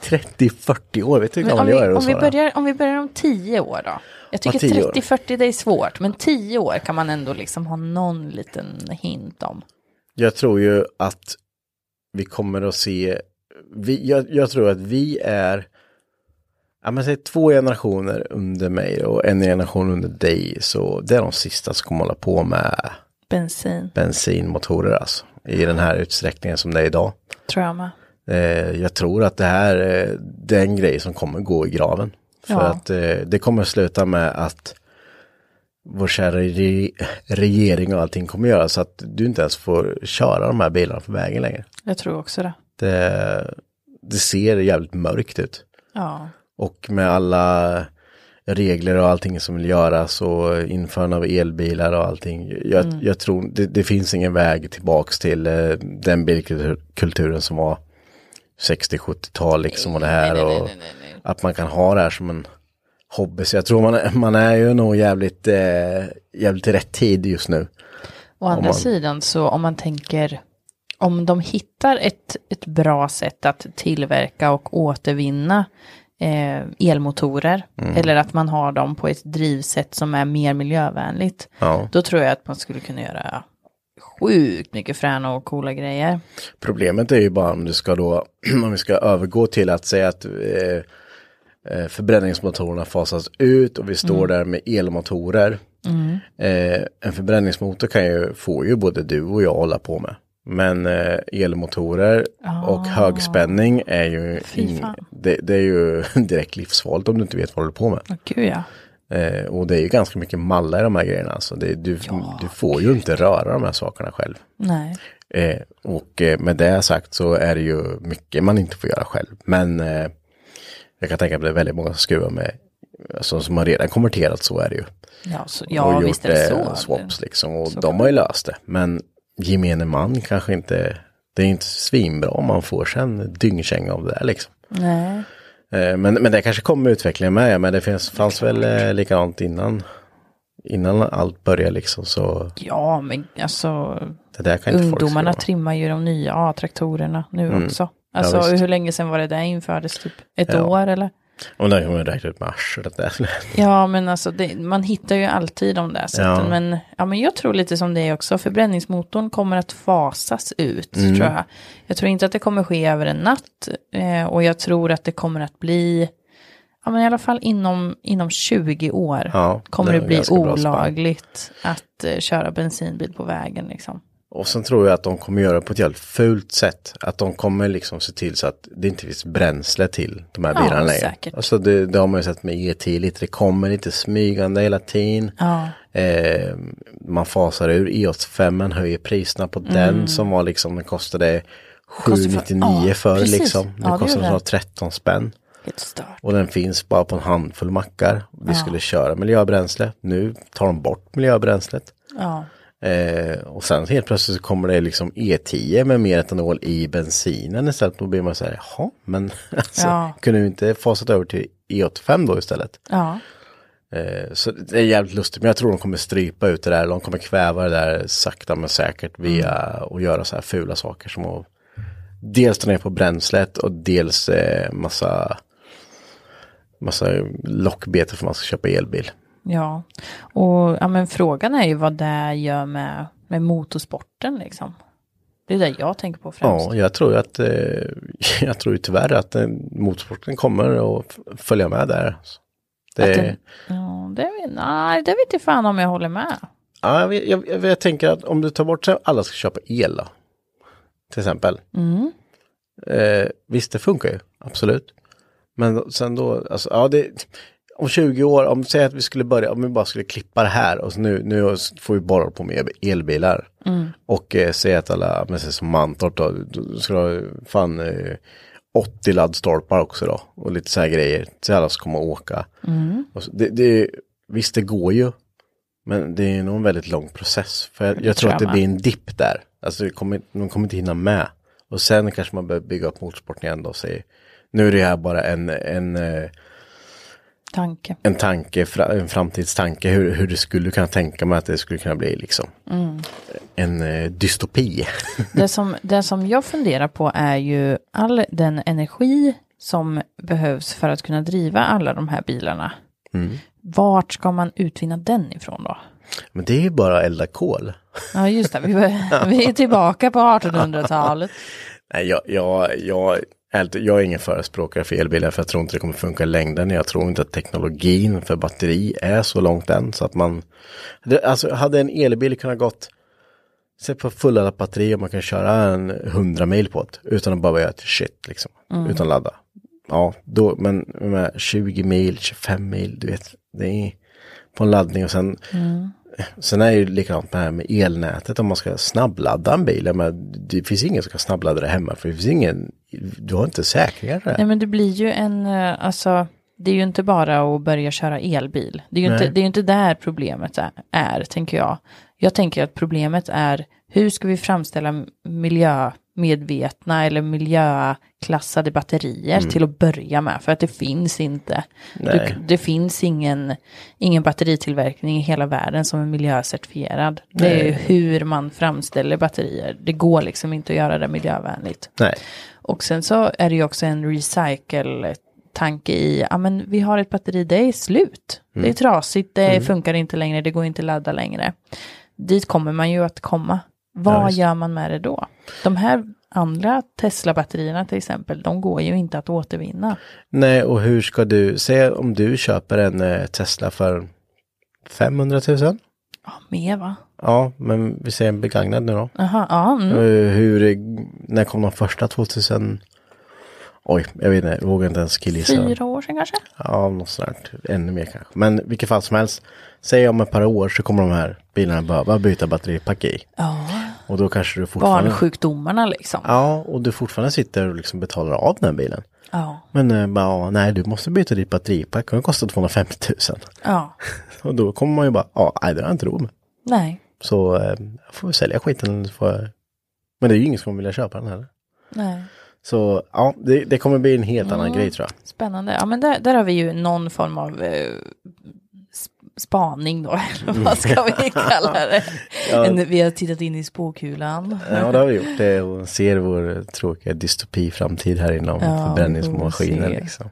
[SPEAKER 1] 30-40 år, vet du hur
[SPEAKER 2] Men om,
[SPEAKER 1] gammal jag
[SPEAKER 2] vi,
[SPEAKER 1] är
[SPEAKER 2] om, vi
[SPEAKER 1] Sara?
[SPEAKER 2] börjar, om vi börjar om 10 år då? Jag tycker
[SPEAKER 1] 10 år?
[SPEAKER 2] 30-40 det är svårt, men 10 år kan man ändå liksom ha någon liten hint om.
[SPEAKER 1] Jag tror ju att vi kommer att se, vi, jag, jag tror att vi är, ja men säg två generationer under mig och en generation under dig, så det är de sista som kommer hålla på med
[SPEAKER 2] Bensin,
[SPEAKER 1] bensinmotorer alltså, i den här utsträckningen som det är idag.
[SPEAKER 2] tror jag med.
[SPEAKER 1] Eh, jag tror att det här eh, det är en grej som kommer gå i graven. För
[SPEAKER 2] Ja.
[SPEAKER 1] att eh, det kommer sluta med att vår kära re- regering och allting kommer göra så att du inte ens får köra de här bilarna på vägen längre.
[SPEAKER 2] Jag tror också det.
[SPEAKER 1] Det, det ser jävligt mörkt ut.
[SPEAKER 2] Ja,
[SPEAKER 1] Och med alla regler och allting som vill göras och införande av elbilar och allting. Jag, jag tror det, det finns ingen väg tillbaks till eh, den bilkulturen som var 60-70-tal liksom och det här. och Att man kan ha det här som en hobby. Så jag tror man, är- man är ju nog jävligt, eh, jävligt i rätt tid just nu.
[SPEAKER 2] Å andra
[SPEAKER 1] man-
[SPEAKER 2] sidan så om man tänker om de hittar ett, ett bra sätt att tillverka och återvinna eh, elmotorer,
[SPEAKER 1] Mm.
[SPEAKER 2] eller att man har dem på ett drivsätt som är mer miljövänligt,
[SPEAKER 1] Ja.
[SPEAKER 2] då tror jag att man skulle kunna göra sjukt mycket fräna och coola grejer.
[SPEAKER 1] Problemet är ju bara om du ska då, om vi ska övergå till att säga att eh, eh, förbränningsmotorerna fasas ut och vi står där med elmotorer. Eh, en förbränningsmotor kan ju, får ju både du och jag hålla på med. Men eh, elmotorer och högspänning är ju, ing-
[SPEAKER 2] fan.
[SPEAKER 1] det, det är ju direkt livsfarligt om du inte vet vad du håller på med.
[SPEAKER 2] Åh, Gud ja.
[SPEAKER 1] Eh, och det är ju ganska mycket malla i de här grejerna. Alltså det, du, du får ju inte röra de här sakerna själv.
[SPEAKER 2] Nej.
[SPEAKER 1] Eh, och eh, med det sagt så är det ju mycket man inte får göra själv. Men eh, jag kan tänka mig att det är väldigt många som skruvar med, alltså, som har redan konverterat, så är det ju.
[SPEAKER 2] Ja, så, ja
[SPEAKER 1] och gjort
[SPEAKER 2] visst är det så.
[SPEAKER 1] eh, swaps liksom. Och de har ju löst det. Men gemene man kanske inte, det är inte svinbra om man får sig en dyngkänga av det där liksom.
[SPEAKER 2] Nej.
[SPEAKER 1] Eh, men, men det kanske kommer med utvecklingen med, ja, men det finns, fanns väl eh, likadant innan. Innan allt började liksom så
[SPEAKER 2] Ja, men alltså
[SPEAKER 1] det där kan inte folk
[SPEAKER 2] ungdomarna
[SPEAKER 1] skruva.
[SPEAKER 2] trimmar ju de nya A-traktorerna nu också. Alltså
[SPEAKER 1] visst.
[SPEAKER 2] hur länge sedan var det där infördes? Typ ett
[SPEAKER 1] Ja.
[SPEAKER 2] år eller?
[SPEAKER 1] Och där kan man ju räkna ut med arslet där.
[SPEAKER 2] Ja, men alltså det, man hittar ju alltid de där sätten.
[SPEAKER 1] Ja.
[SPEAKER 2] Men, ja, men jag tror lite som det är också. Förbränningsmotorn kommer att fasas ut,
[SPEAKER 1] Mm.
[SPEAKER 2] tror jag. Jag tror inte att det kommer ske över en natt. Eh, och jag tror att det kommer att bli, ja, men i alla fall inom, inom 20 år,
[SPEAKER 1] Ja,
[SPEAKER 2] kommer
[SPEAKER 1] det
[SPEAKER 2] det,
[SPEAKER 1] är
[SPEAKER 2] bli
[SPEAKER 1] ganska bra spann.
[SPEAKER 2] olagligt att eh, köra bensinbil på vägen. Liksom.
[SPEAKER 1] Och sen tror jag att de kommer göra det på ett jävligt fult sätt. Att de kommer liksom se till så att det inte finns bränsle till de här
[SPEAKER 2] Ja,
[SPEAKER 1] bilarna längre.
[SPEAKER 2] säkert.
[SPEAKER 1] Alltså det, det har man ju sett med ET lite, det kommer lite smygande hela tiden.
[SPEAKER 2] Ja.
[SPEAKER 1] Eh, man fasar ur EOS 5, höjer priserna på den som var liksom, den kostade
[SPEAKER 2] kostar Mm. för-
[SPEAKER 1] 799
[SPEAKER 2] ja,
[SPEAKER 1] förr
[SPEAKER 2] precis.
[SPEAKER 1] liksom.
[SPEAKER 2] Ja,
[SPEAKER 1] Nu
[SPEAKER 2] det
[SPEAKER 1] kostar
[SPEAKER 2] gör
[SPEAKER 1] den
[SPEAKER 2] det.
[SPEAKER 1] snart 13 spänn.
[SPEAKER 2] Helt stört.
[SPEAKER 1] Och den finns bara på en handfull mackar. Vi skulle köra miljöbränsle, nu tar de bort miljöbränslet.
[SPEAKER 2] Ja.
[SPEAKER 1] Eh, och sen helt plötsligt så kommer det liksom E10 med mer etanol i bensinen istället. Då blir man så här, jaha, men alltså,
[SPEAKER 2] Ja.
[SPEAKER 1] kunde vi inte fasat över till E85 då istället?
[SPEAKER 2] Ja.
[SPEAKER 1] Eh, så det är jävligt lustigt, men jag tror de kommer strypa ut det där. De kommer kväva det där sakta men säkert via
[SPEAKER 2] Mm.
[SPEAKER 1] att göra så här fula saker som att dels ta ner på bränslet och dels eh, massa massa lockbete för att man ska köpa elbil.
[SPEAKER 2] Ja, och ja, men frågan är ju vad det gör med, med motorsporten liksom. Det är det jag tänker på främst.
[SPEAKER 1] Ja, jag tror ju att eh, jag tror ju tyvärr att eh, motorsporten kommer att f- följa med där. Det,
[SPEAKER 2] Att den- ja det, vet- nej, det vet jag fan om jag håller med.
[SPEAKER 1] ja, jag, vet- jag, jag, jag tänker att om du tar bort så här, alla ska köpa el då, till exempel. Eh, visst, det funkar ju, absolut. Men sen då, alltså, ja, det, om 20 år, om säg att vi skulle börja, om vi bara skulle klippa det här och så nu, nu får vi bara på med elbilar. Och eh, säg att alla, men säg som Mantorp då, då ska du ha fan eh, 80 laddstolpar också då och lite så här grejer till alla som kommer att åka. Och så, det, det, visst, det går ju. Men det är ju nog en väldigt lång process. För jag, jag tror
[SPEAKER 2] tror
[SPEAKER 1] att det
[SPEAKER 2] jag
[SPEAKER 1] blir en dipp där. Alltså det kommer, de kommer inte hinna med. Och sen kanske man börjar bygga upp motorsporten igen då och säger nu är det här bara en, en, eh,
[SPEAKER 2] Tanke.
[SPEAKER 1] en tanke, fra- en framtidstanke hur, hur du skulle kunna tänka mig att det skulle kunna bli liksom.
[SPEAKER 2] Mm.
[SPEAKER 1] En eh, dystopi.
[SPEAKER 2] Det som, det som jag funderar på är ju all den energi som behövs för att kunna driva alla de här bilarna.
[SPEAKER 1] Mm.
[SPEAKER 2] Vart ska man utvinna den ifrån då?
[SPEAKER 1] Men det är ju bara elda kol.
[SPEAKER 2] Ja, just det. Vi, var- vi är tillbaka på 1800-talet.
[SPEAKER 1] Nej, jag, jag, jag, ärligt, jag är ingen förespråkare för elbilar för jag tror inte det kommer funka i längden. Jag tror inte att teknologin för batteri är så långt än så att man... Det, alltså hade en elbil kunnat gått se på fulladdat batteri och man kan köra en 100 mil på det utan att bara göra ett shit liksom.
[SPEAKER 2] Mm.
[SPEAKER 1] Utan ladda. Ja, då, men med 20 mil, 25 mil, du vet. Det är på en laddning och sen
[SPEAKER 2] Mm.
[SPEAKER 1] Sen är det ju likadant med det här med elnätet om man ska snabbladda en bil. Jag menar, det finns ingen som kan snabbladda det hemma för det finns ingen, du har inte säkringar där.
[SPEAKER 2] Nej men det blir ju en, eh, alltså det är ju inte bara att börja köra elbil. Det är ju, inte, det är ju inte där problemet är, är, tänker jag. Jag tänker att problemet är hur ska vi framställa m- miljö, miljömedvetna eller miljöklassade batterier till att börja med. För att det finns inte.
[SPEAKER 1] Nej.
[SPEAKER 2] Du, det finns ingen, ingen batteritillverkning i hela världen som är miljöcertifierad. Det är ju hur man framställer batterier. Det går liksom inte att göra det miljövänligt.
[SPEAKER 1] Nej.
[SPEAKER 2] Och sen så är det ju också en recycle-tanke i, ja men vi har ett batteri, det är slut. Det är
[SPEAKER 1] Mm.
[SPEAKER 2] trasigt, det funkar inte längre, det går inte att ladda längre. Dit kommer man ju att komma. Vad gör man med det då? De här andra Tesla-batterierna till exempel, de går ju inte att återvinna.
[SPEAKER 1] Nej, och hur ska du, säg om du köper en eh, Tesla för 500 000?
[SPEAKER 2] Ja, mer va?
[SPEAKER 1] Ja, men vi säger en begagnad nu då.
[SPEAKER 2] Aha, ja, mm.
[SPEAKER 1] Eh, Hur, när kom de första 2000? Oj, jag vet inte, jag vågar inte ens killgissa.
[SPEAKER 2] Fyra år sedan kanske?
[SPEAKER 1] Ja, något sånt. där. typ, Ännu mer kanske. Men vilket fall som helst. Säg om ett par år så kommer de här bilarna behöva byta batteripack i.
[SPEAKER 2] Ja,
[SPEAKER 1] Och då kanske du fortfarande...
[SPEAKER 2] barnsjukdomarna liksom.
[SPEAKER 1] Ja, och du fortfarande sitter och liksom betalar av den här bilen.
[SPEAKER 2] Ja,
[SPEAKER 1] Men eh, bara, ja, nej, du måste byta ditt batteripack. Det kostar 250 000.
[SPEAKER 2] ja.
[SPEAKER 1] Och då kommer man ju bara, ja, nej, det har jag inte råd med.
[SPEAKER 2] nej,
[SPEAKER 1] Så eh, jag får väl sälja skiten. eller så Får jag... Men det är ju ingen som kommer vilja köpa den heller.
[SPEAKER 2] nej.
[SPEAKER 1] Så ja, det, det kommer bli en helt annan grej tror jag.
[SPEAKER 2] Spännande. Ja, men där, där har vi ju någon form av eh, sp- spaning då, eller vad ska vi kalla det? en, vi har tittat in i spåkulan.
[SPEAKER 1] Ja, det har vi gjort. Det, och ser vår tråkiga dystopi-framtid här inom
[SPEAKER 2] Ja,
[SPEAKER 1] förbränningsmaskiner.
[SPEAKER 2] vi får se.
[SPEAKER 1] Liksom.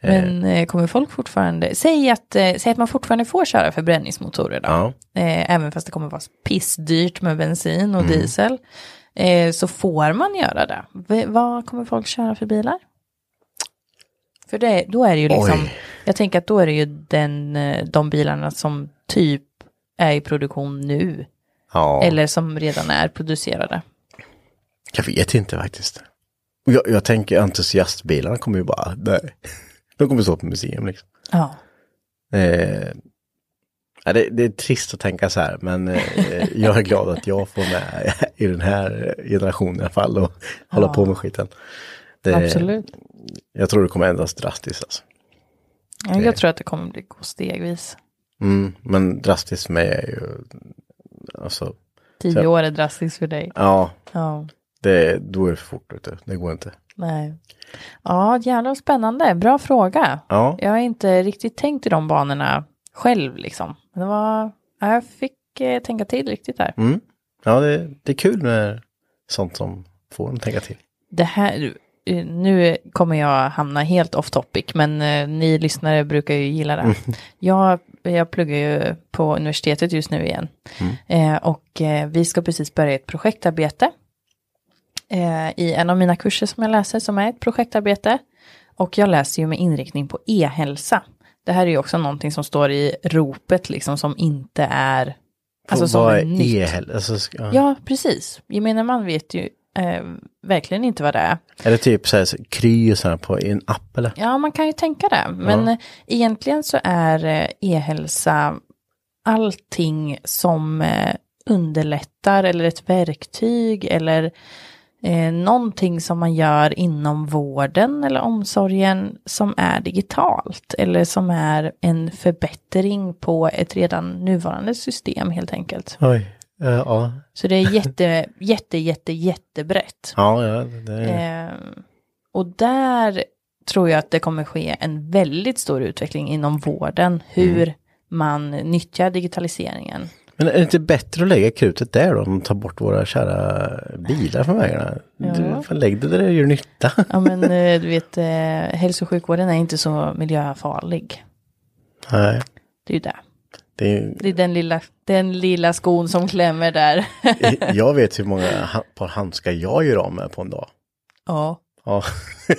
[SPEAKER 2] Men eh, kommer folk fortfarande, säg att, eh, säg att man fortfarande får köra förbränningsmotorer då,
[SPEAKER 1] Ja.
[SPEAKER 2] eh, även fast det kommer vara pissdyrt med bensin
[SPEAKER 1] Mm.
[SPEAKER 2] och diesel, eh, så får man göra det. V- vad kommer folk köra för bilar? För det, då är det ju liksom,
[SPEAKER 1] Oj.
[SPEAKER 2] jag tänker att då är det ju den, eh, de bilarna som typ är i produktion nu,
[SPEAKER 1] Ja,
[SPEAKER 2] eller som redan är producerade.
[SPEAKER 1] jag vet inte faktiskt. Och Jag, jag tänker entusiastbilarna kommer ju bara, nej. De kommer stå på museum liksom.
[SPEAKER 2] Ja.
[SPEAKER 1] Eh, ja, det, det är trist att tänka så här, men eh, jag är glad att jag får med i den här generationen i alla fall och hålla på med skiten. Det,
[SPEAKER 2] Absolut.
[SPEAKER 1] Jag tror det kommer ändras drastiskt. Alltså.
[SPEAKER 2] Ja, Jag tror att det kommer bli gå stegvis.
[SPEAKER 1] Mm, men drastiskt för mig är ju, alltså,
[SPEAKER 2] Tio år är drastiskt för dig.
[SPEAKER 1] ja,
[SPEAKER 2] Ja.
[SPEAKER 1] det, då är det för fort ute. Det går inte.
[SPEAKER 2] Nej. Ja, jävla spännande. Bra fråga.
[SPEAKER 1] Ja.
[SPEAKER 2] Jag har inte riktigt tänkt i de banorna själv liksom. Men det var, ja, jag fick eh, tänka till riktigt där.
[SPEAKER 1] Mm. Ja, det, det är kul med sånt som får en att tänka till.
[SPEAKER 2] Det här, eh, nu kommer jag hamna helt off topic, men eh, ni lyssnare brukar ju gilla det. Jag, jag pluggar ju på universitetet just nu igen. Eh, och eh, vi ska precis börja ett projektarbete. Eh, I en av mina kurser som jag läser som är ett projektarbete. Och jag läser ju med inriktning på e-hälsa. Det här är ju också någonting som står i ropet liksom som inte är... Alltså som
[SPEAKER 1] Vad
[SPEAKER 2] är nytt.
[SPEAKER 1] e-hel- alltså, ska-
[SPEAKER 2] Ja, precis. Gemene man vet ju eh, verkligen inte vad det är.
[SPEAKER 1] Är det typ så här, så- kry och sådär på i en app eller?
[SPEAKER 2] Ja, man kan ju tänka det. Men eh, egentligen så är eh, e-hälsa allting som eh, underlättar eller ett verktyg eller eh, någonting som man gör inom vården eller omsorgen som är digitalt eller som är en förbättring på ett redan nuvarande system helt enkelt.
[SPEAKER 1] Oj, eh, ja.
[SPEAKER 2] Så det är jätte, jätte, jätte, jättebrett.
[SPEAKER 1] Ja, ja, det,
[SPEAKER 2] Ehm, och där tror jag att det kommer ske en väldigt stor utveckling inom vården, hur
[SPEAKER 1] Mm.
[SPEAKER 2] man nyttjar digitaliseringen.
[SPEAKER 1] men är det inte bättre att lägga krutet där då? Om de tar bort våra kära bilar från vägarna? Du, fan, lägg det där det gör nytta.
[SPEAKER 2] Ja men eh, du vet, eh, hälso och sjukvården är inte så miljöfarlig.
[SPEAKER 1] Nej,
[SPEAKER 2] Det är ju det.
[SPEAKER 1] det är, ju-
[SPEAKER 2] Det är den lilla, den lilla skon som klämmer där.
[SPEAKER 1] jag vet hur många ha- par handskar jag gör av med på en dag.
[SPEAKER 2] ja.
[SPEAKER 1] Ja.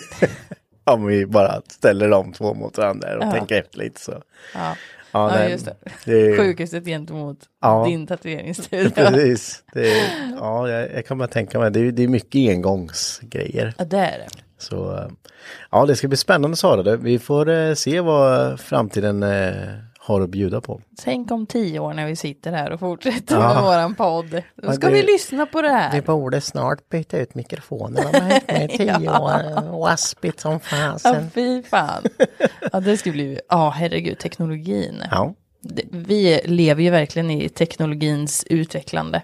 [SPEAKER 1] Om vi bara ställer de två mot varandra och tänker efter lite så.
[SPEAKER 2] Ja.
[SPEAKER 1] Ja,
[SPEAKER 2] Ja,
[SPEAKER 1] nej,
[SPEAKER 2] just det.
[SPEAKER 1] är-
[SPEAKER 2] Sjukhuset gentemot
[SPEAKER 1] Ja.
[SPEAKER 2] din tatueringsstudio.
[SPEAKER 1] Precis. Det är, ja, jag, jag kan bara tänka mig. Det är, det är mycket engångsgrejer.
[SPEAKER 2] Ja, det är det.
[SPEAKER 1] Så eh, ja, det ska bli spännande Sara. Det- Vi får eh, se vad framtiden eh, har att bjuda på.
[SPEAKER 2] Tänk om tio år när vi sitter här och fortsätter med våran podd. Då
[SPEAKER 1] Ja,
[SPEAKER 2] ska
[SPEAKER 1] det-
[SPEAKER 2] vi lyssna på det här.
[SPEAKER 1] borde snart byta ut mikrofonerna. De har hängt med i tio år. Waspigt som
[SPEAKER 2] Ja,
[SPEAKER 1] fasen.
[SPEAKER 2] fy fan. Ja, det skulle bli, ja herregud, teknologin.
[SPEAKER 1] Ja,
[SPEAKER 2] Det- Vi lever ju verkligen i teknologins utvecklande.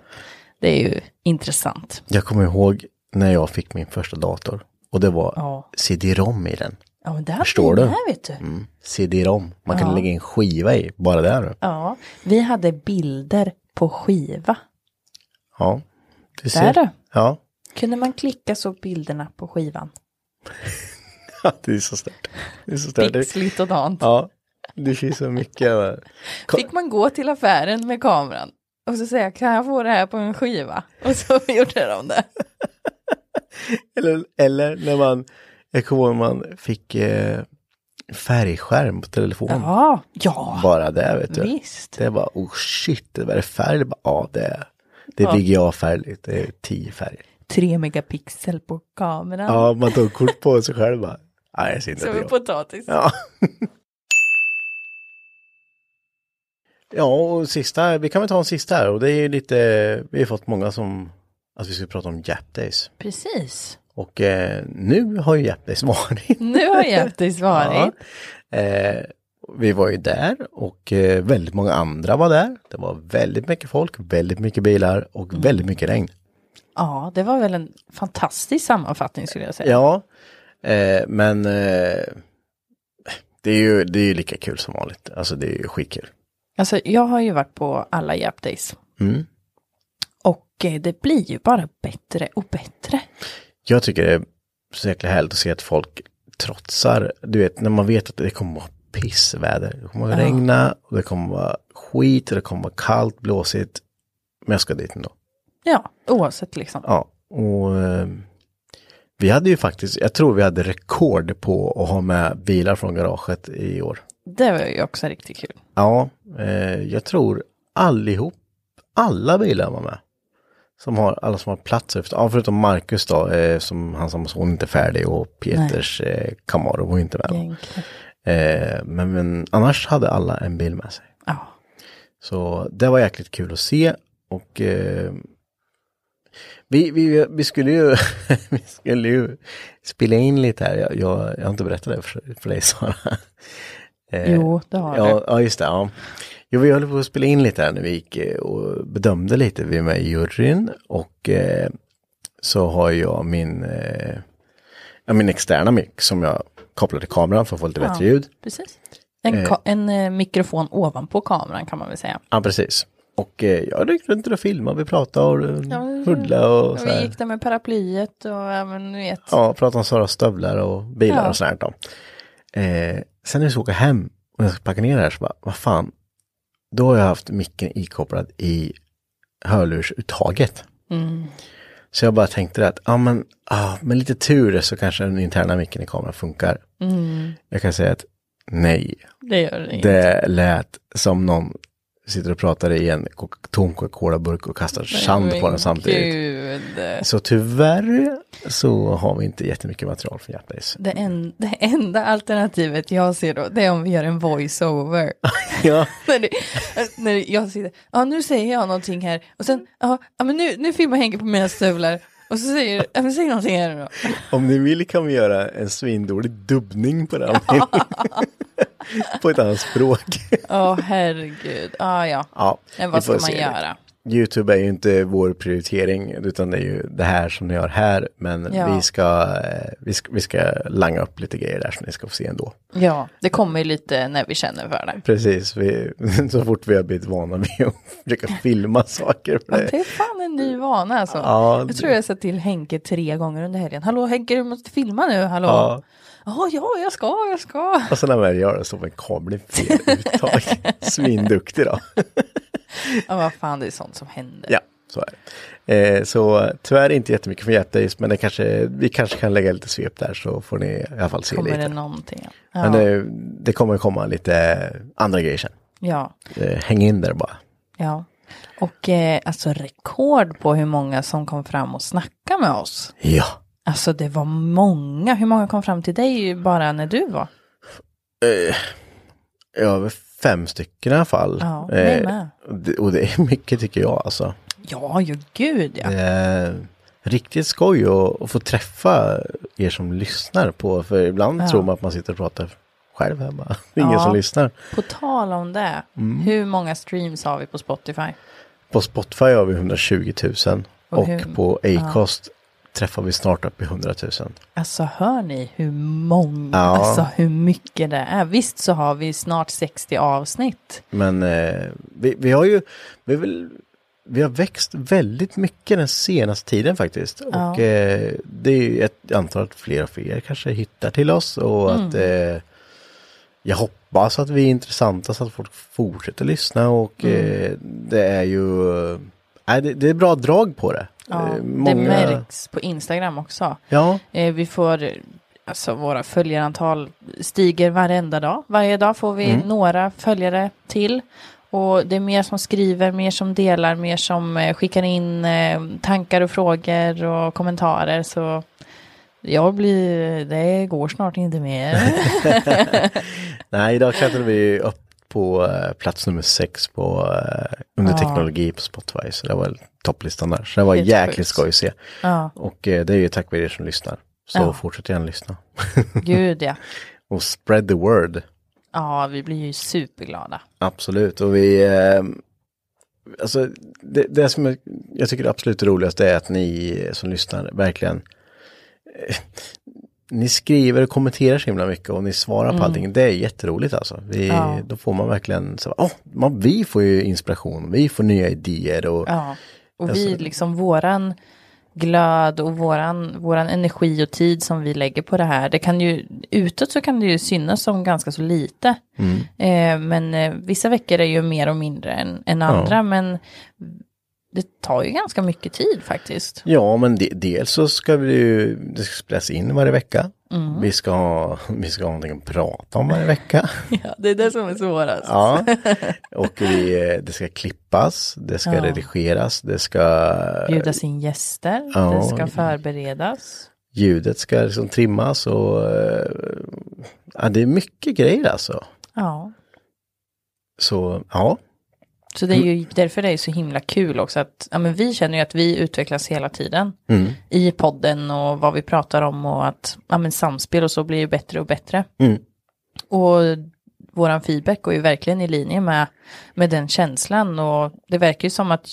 [SPEAKER 2] Det är ju intressant.
[SPEAKER 1] jag kommer ihåg när jag fick min första dator. Och det var
[SPEAKER 2] Ja.
[SPEAKER 1] CD-ROM i den.
[SPEAKER 2] Ja, men det här
[SPEAKER 1] Förstår
[SPEAKER 2] blir
[SPEAKER 1] du?
[SPEAKER 2] det här vet du.
[SPEAKER 1] Mm. CD-ROM. Man kunde lägga in skiva i, bara där. du.
[SPEAKER 2] Ja, vi hade bilder på skiva.
[SPEAKER 1] Ja. Du
[SPEAKER 2] Där du.
[SPEAKER 1] Ja.
[SPEAKER 2] Kunde man klicka så bilderna på skivan?
[SPEAKER 1] det är så stört. Det är så stört. Det-
[SPEAKER 2] Pixligt och dant.
[SPEAKER 1] Ja. Det finns så mycket. va. Ko-
[SPEAKER 2] Fick man gå till affären med kameran och så säga kan jag få det här på en skiva? Och så gjorde de det.
[SPEAKER 1] Eller, eller när man, jag kommer ihåg när man fick eh, färgskärm på telefonen.
[SPEAKER 2] Ja, ja,
[SPEAKER 1] Bara det vet du.
[SPEAKER 2] visst.
[SPEAKER 1] Det var, oh shit, det var det färg? Det bara, Ja, det är, det är VGA-färg, det är tio färger.
[SPEAKER 2] Tre megapixel på kameran.
[SPEAKER 1] Ja, man tog kort på sig själv bara. Nej, jag ser inte
[SPEAKER 2] Som
[SPEAKER 1] det
[SPEAKER 2] en
[SPEAKER 1] jag."
[SPEAKER 2] potatis.
[SPEAKER 1] Ja. ja, och sista, vi kan väl ta en sista här och det är ju lite, vi har fått många som, att vi skulle prata om Jap Days.
[SPEAKER 2] Precis.
[SPEAKER 1] Och eh, nu har ju Jap Days varit.
[SPEAKER 2] Nu har Jättis varit.
[SPEAKER 1] Ja. Eh, vi var ju där och eh, väldigt många andra var där. Det var väldigt mycket folk, väldigt mycket bilar och väldigt mycket regn.
[SPEAKER 2] Ja, det var väl en fantastisk sammanfattning skulle jag säga.
[SPEAKER 1] Ja, eh, men eh, det, är ju, det är ju lika kul som vanligt. Alltså det är ju skitkul.
[SPEAKER 2] Alltså, jag har ju varit på alla Jap Days.
[SPEAKER 1] Mm.
[SPEAKER 2] Och eh, det blir ju bara bättre och bättre.
[SPEAKER 1] Jag tycker det är så jäkla härligt att se att folk trotsar, du vet när man vet att det kommer vara pissväder. Det kommer att regna, och det kommer vara skit, och det kommer vara kallt, blåsigt. Men jag ska dit ändå.
[SPEAKER 2] Ja, oavsett liksom.
[SPEAKER 1] Ja, och eh, vi hade ju faktiskt, jag tror vi hade rekord på att ha med bilar från garaget i år.
[SPEAKER 2] Det var ju också riktigt kul.
[SPEAKER 1] Ja, eh, jag tror allihop, alla bilar var med. Som har, alla som har plats efter, ja, förutom Marcus då, eh, som han som son inte är färdig och Peters eh, Camaro var ju inte med.
[SPEAKER 2] Egentligen.
[SPEAKER 1] Eh, men, men annars hade alla en bil med sig.
[SPEAKER 2] Ja.
[SPEAKER 1] Så det var jäkligt kul att se och eh, vi, vi, vi, skulle ju, vi skulle ju spela in lite här. Jag, jag, jag har inte berättat det för, för dig Sara. Eh,
[SPEAKER 2] Jo, det har
[SPEAKER 1] ja,
[SPEAKER 2] du.
[SPEAKER 1] ja, just det. Ja. Jo, vi höll på att spela in lite här när vi gick eh, och bedömde lite. Vi är med i juryn och eh, så har jag min, eh, ja, min externa mic som jag kopplar till kameran för att få lite bättre ljud.
[SPEAKER 2] Precis. En, ka- en eh, mikrofon ovanpå kameran kan man väl säga.
[SPEAKER 1] Ja, precis. Och eh, jag gick runt och filmade, vi pratade och ja, huddlade och så
[SPEAKER 2] vi
[SPEAKER 1] här.
[SPEAKER 2] gick där med paraplyet och ja, men ni vet.
[SPEAKER 1] Ja, pratade om Saras stövlar och bilar
[SPEAKER 2] Ja.
[SPEAKER 1] och sånt här. då. Eh, sen när vi ska åka hem och jag ska packa ner det här så bara, vad fan. Då har jag haft micken ikopplad i hörlursuttaget. Så jag bara tänkte det att, ja men, ah, med lite tur så kanske den interna micken i kameran funkar. Jag kan säga att nej,
[SPEAKER 2] Det gör det inte.
[SPEAKER 1] det lät som någon sitter och pratar i en Coca- tom Coca-Cola-burk och kastar sand på den samtidigt.
[SPEAKER 2] Gud.
[SPEAKER 1] Så tyvärr så har vi inte jättemycket material från Jap Days.
[SPEAKER 2] Det, en, det enda alternativet jag ser då, det är om vi gör en voice-over.
[SPEAKER 1] Ja,
[SPEAKER 2] när, det, när det- jag sitter, ja nu säger jag någonting här och sen, ja ja, men nu, nu filmar Henke på mina stövlar och så säger, ja men säg någonting här nu då.
[SPEAKER 1] om ni vill kan vi göra en svindålig dubbning på den. på ett annat språk.
[SPEAKER 2] Ja herregud, ja ja.
[SPEAKER 1] Ja,
[SPEAKER 2] Men
[SPEAKER 1] vi
[SPEAKER 2] vad ska
[SPEAKER 1] får
[SPEAKER 2] man
[SPEAKER 1] se.
[SPEAKER 2] göra?
[SPEAKER 1] Youtube är ju inte vår prioritering utan det är ju det här som ni gör här. Men
[SPEAKER 2] Ja.
[SPEAKER 1] vi, ska, eh, vi, ska, vi ska langa upp lite grejer där som ni ska få se ändå.
[SPEAKER 2] Ja, det kommer ju lite när vi känner för det.
[SPEAKER 1] Precis, vi, så fort vi har blivit vana vid att försöka filma saker.
[SPEAKER 2] Ja, det är fan en ny vana alltså.
[SPEAKER 1] Eh. Ja,
[SPEAKER 2] jag tror jag sa till Henke tre gånger under helgen, hallå Henke du måste filma nu, hallå.
[SPEAKER 1] Ja.
[SPEAKER 2] Ja, ja jag ska, jag ska.
[SPEAKER 1] Och sen när man gör det så en kabel i fel uttag. Svinduktig då.
[SPEAKER 2] Ja vad fan det är sånt som händer.
[SPEAKER 1] Ja, så är det. Eh, så tyvärr inte jättemycket för Jätteis, men det kanske, vi kanske kan lägga lite svep där så får ni i alla fall se
[SPEAKER 2] kommer det
[SPEAKER 1] lite.
[SPEAKER 2] någonting?
[SPEAKER 1] Men
[SPEAKER 2] Ja,
[SPEAKER 1] det, det kommer komma lite andra grejer sen.
[SPEAKER 2] ja.
[SPEAKER 1] Eh, häng in där bara.
[SPEAKER 2] Ja, och eh, alltså rekord på hur många som kom fram och snackade med oss.
[SPEAKER 1] Ja,
[SPEAKER 2] Alltså det var många. Hur många kom fram till dig bara när du var?
[SPEAKER 1] över fem stycken i alla fall. Eh,
[SPEAKER 2] Ja, jag är med.
[SPEAKER 1] och det- och det är mycket tycker jag alltså.
[SPEAKER 2] Ja, ju gud ja.
[SPEAKER 1] Det är Eh, riktigt skoj att, att få träffa er som lyssnar på, för ibland tror man att man sitter och pratar själv hemma. Det är ingen
[SPEAKER 2] Ja.
[SPEAKER 1] som lyssnar.
[SPEAKER 2] På tal om det,
[SPEAKER 1] Mm.
[SPEAKER 2] hur många streams har vi på Spotify?
[SPEAKER 1] På Spotify har vi 120 000 och,
[SPEAKER 2] hur-
[SPEAKER 1] på Acast träffar vi snart upp i 100 000.
[SPEAKER 2] Alltså hör ni hur många,
[SPEAKER 1] Ja.
[SPEAKER 2] alltså hur mycket det är. Visst så har vi snart 60 avsnitt.
[SPEAKER 1] Men eh, vi, vi har ju, vi, har väl, vi har växt väldigt mycket den senaste tiden faktiskt. Och eh, det är ju ett jag antar att fler och fler kanske hittar till oss och att
[SPEAKER 2] Mm.
[SPEAKER 1] eh, jag hoppas att vi är intressanta så att folk fortsätter lyssna och
[SPEAKER 2] Mm.
[SPEAKER 1] eh, det är ju, eh, nej det, det är bra drag på det.
[SPEAKER 2] Ja,
[SPEAKER 1] Eh,
[SPEAKER 2] Det märks på Instagram också.
[SPEAKER 1] Ja,
[SPEAKER 2] Eh, vi får, eh, alltså våra följarantal stiger varenda dag. Varje dag får vi några följare till. Och det är mer som skriver, mer som delar, mer som eh, skickar in eh, tankar och frågor och kommentarer. Så jag blir, det går snart inte mer.
[SPEAKER 1] nej idag klättrade vi upp på eh, plats nummer sex på eh, under
[SPEAKER 2] Ja.
[SPEAKER 1] teknologi på Spotify. Så det var topplistan där. Så det var
[SPEAKER 2] Helt
[SPEAKER 1] jäkligt
[SPEAKER 2] sjukt.
[SPEAKER 1] skoj att se.
[SPEAKER 2] ja,
[SPEAKER 1] Och eh, det är ju tack vare er som lyssnar. Så
[SPEAKER 2] Ja.
[SPEAKER 1] fortsätt gärna lyssna.
[SPEAKER 2] gud ja.
[SPEAKER 1] Och spread the word.
[SPEAKER 2] Ja, vi blir ju superglada.
[SPEAKER 1] Absolut. Och vi, eh, alltså det, det som är, jag tycker det absolut roligaste är att ni som lyssnar verkligen, eh, ni skriver och kommenterar så himla mycket och ni svarar på allting. Det är jätteroligt alltså. Vi,
[SPEAKER 2] Mm. Ja.
[SPEAKER 1] Då får man verkligen, så, oh, man, vi får ju inspiration, vi får nya idéer och
[SPEAKER 2] Ja, och vi
[SPEAKER 1] Alltså-
[SPEAKER 2] liksom våran glöd och våran, våran energi och tid som vi lägger på det här. Det kan ju, utåt så kan det ju synas som ganska så lite. Eh, men eh, vissa veckor är ju mer och mindre än, än andra. Men det tar ju ganska mycket tid faktiskt.
[SPEAKER 1] Ja, men de, dels så ska vi ju, det ska spelas in varje vecka.
[SPEAKER 2] Mm.
[SPEAKER 1] Vi, ska ha, vi ska ha någonting att prata om varje vecka.
[SPEAKER 2] Ja, det är det som är svårast.
[SPEAKER 1] Ja. Och vi, eh, det ska klippas, det ska
[SPEAKER 2] Ja.
[SPEAKER 1] redigeras, det ska,
[SPEAKER 2] Bjudas in gäster,
[SPEAKER 1] Ja.
[SPEAKER 2] det ska förberedas.
[SPEAKER 1] ljudet ska liksom trimmas och eh, ja, det är mycket grejer alltså.
[SPEAKER 2] Ja.
[SPEAKER 1] Så ja,
[SPEAKER 2] Så det är ju därför det är så himla kul också att ja, men vi känner ju att vi utvecklas hela tiden
[SPEAKER 1] mm,
[SPEAKER 2] i podden och vad vi pratar om och att ja, men samspel och så blir ju bättre och bättre.
[SPEAKER 1] Mm.
[SPEAKER 2] Och våran feedback går ju verkligen i linje med, med den känslan och det verkar ju som att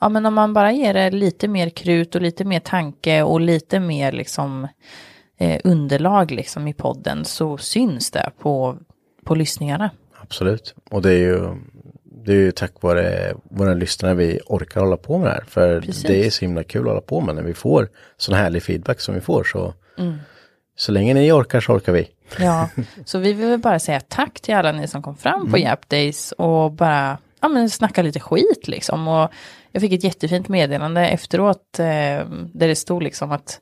[SPEAKER 2] ja, men om man bara ger det lite mer krut och lite mer tanke och lite mer liksom eh, underlag liksom i podden så syns det på, på lyssningarna.
[SPEAKER 1] absolut. Och det är ju, det är ju tack vare våra lyssnare vi orkar hålla på med det här. För
[SPEAKER 2] Precis.
[SPEAKER 1] det är så himla kul att hålla på med när vi får sån härlig feedback som vi får. Så,
[SPEAKER 2] Mm.
[SPEAKER 1] så länge ni orkar så orkar vi.
[SPEAKER 2] Ja, så vi vill väl bara säga tack till alla ni som kom fram
[SPEAKER 1] Mm.
[SPEAKER 2] på Yap Days och bara ja, men snacka lite skit liksom. Och jag fick ett jättefint meddelande efteråt eh, där det stod liksom att,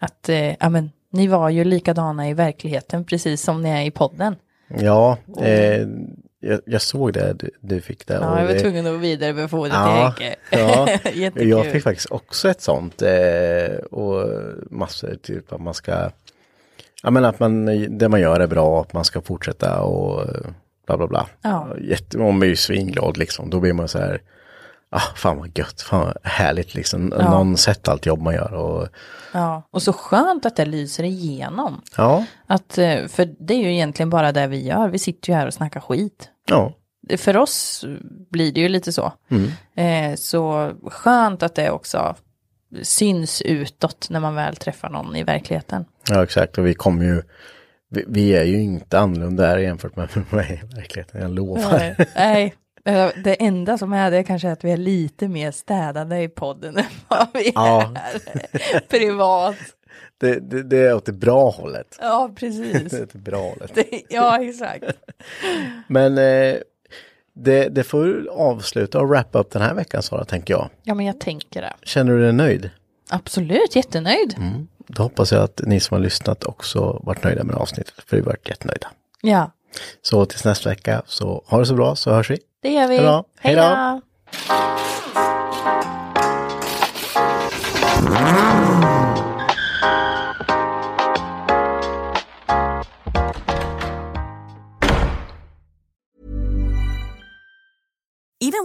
[SPEAKER 2] att eh, ja, men, ni var ju likadana i verkligheten precis som ni är i podden.
[SPEAKER 1] Ja, eh, jag, jag såg det du, du fick det.
[SPEAKER 2] Mm. Ja, jag var
[SPEAKER 1] det,
[SPEAKER 2] tvungen att vidarebefordra till
[SPEAKER 1] Ja,
[SPEAKER 2] Henke.
[SPEAKER 1] ja.
[SPEAKER 2] Jättekul.
[SPEAKER 1] Jag fick faktiskt också ett sånt eh, och massor typ att man ska, ja men att man, det man gör är bra, att man ska fortsätta och bla bla bla.
[SPEAKER 2] Ja.
[SPEAKER 1] Jätte, man blir ju svinglad liksom, då blir man så här, ah, fan vad gött, fan vad härligt liksom, någon sett allt jobb man gör och
[SPEAKER 2] ja. Och så skönt att det lyser igenom.
[SPEAKER 1] ja,
[SPEAKER 2] Att, eh, för det är ju egentligen bara det vi gör, vi sitter ju här och snackar skit.
[SPEAKER 1] ja,
[SPEAKER 2] för oss blir det ju lite så. Eh, så skönt att det också syns utåt när man väl träffar någon i verkligheten.
[SPEAKER 1] ja exakt och vi kommer ju, vi, vi är ju inte annorlunda här jämfört med mig i verkligheten, jag lovar.
[SPEAKER 2] Nej, eh, det enda som är det kanske är att vi är lite mer städade i podden än vad vi
[SPEAKER 1] Ja.
[SPEAKER 2] är privat.
[SPEAKER 1] Det, det, det är åt det bra hållet.
[SPEAKER 2] Ja, precis.
[SPEAKER 1] Det är åt det bra hållet.
[SPEAKER 2] Det- Ja, exakt.
[SPEAKER 1] Men eh, det, det får vi avsluta och wrap up den här veckan Sara, tänker jag.
[SPEAKER 2] Ja, men jag tänker det.
[SPEAKER 1] Känner du dig nöjd?
[SPEAKER 2] Absolut, jättenöjd.
[SPEAKER 1] Då hoppas jag att ni som har lyssnat också varit nöjda med avsnittet, för vi har varit jättenöjda.
[SPEAKER 2] Ja,
[SPEAKER 1] Så tills nästa vecka, så ha det så bra, så hörs vi.
[SPEAKER 2] det gör vi.
[SPEAKER 1] Hej då. Hej
[SPEAKER 2] Hej då.
[SPEAKER 1] då.
[SPEAKER 4] Even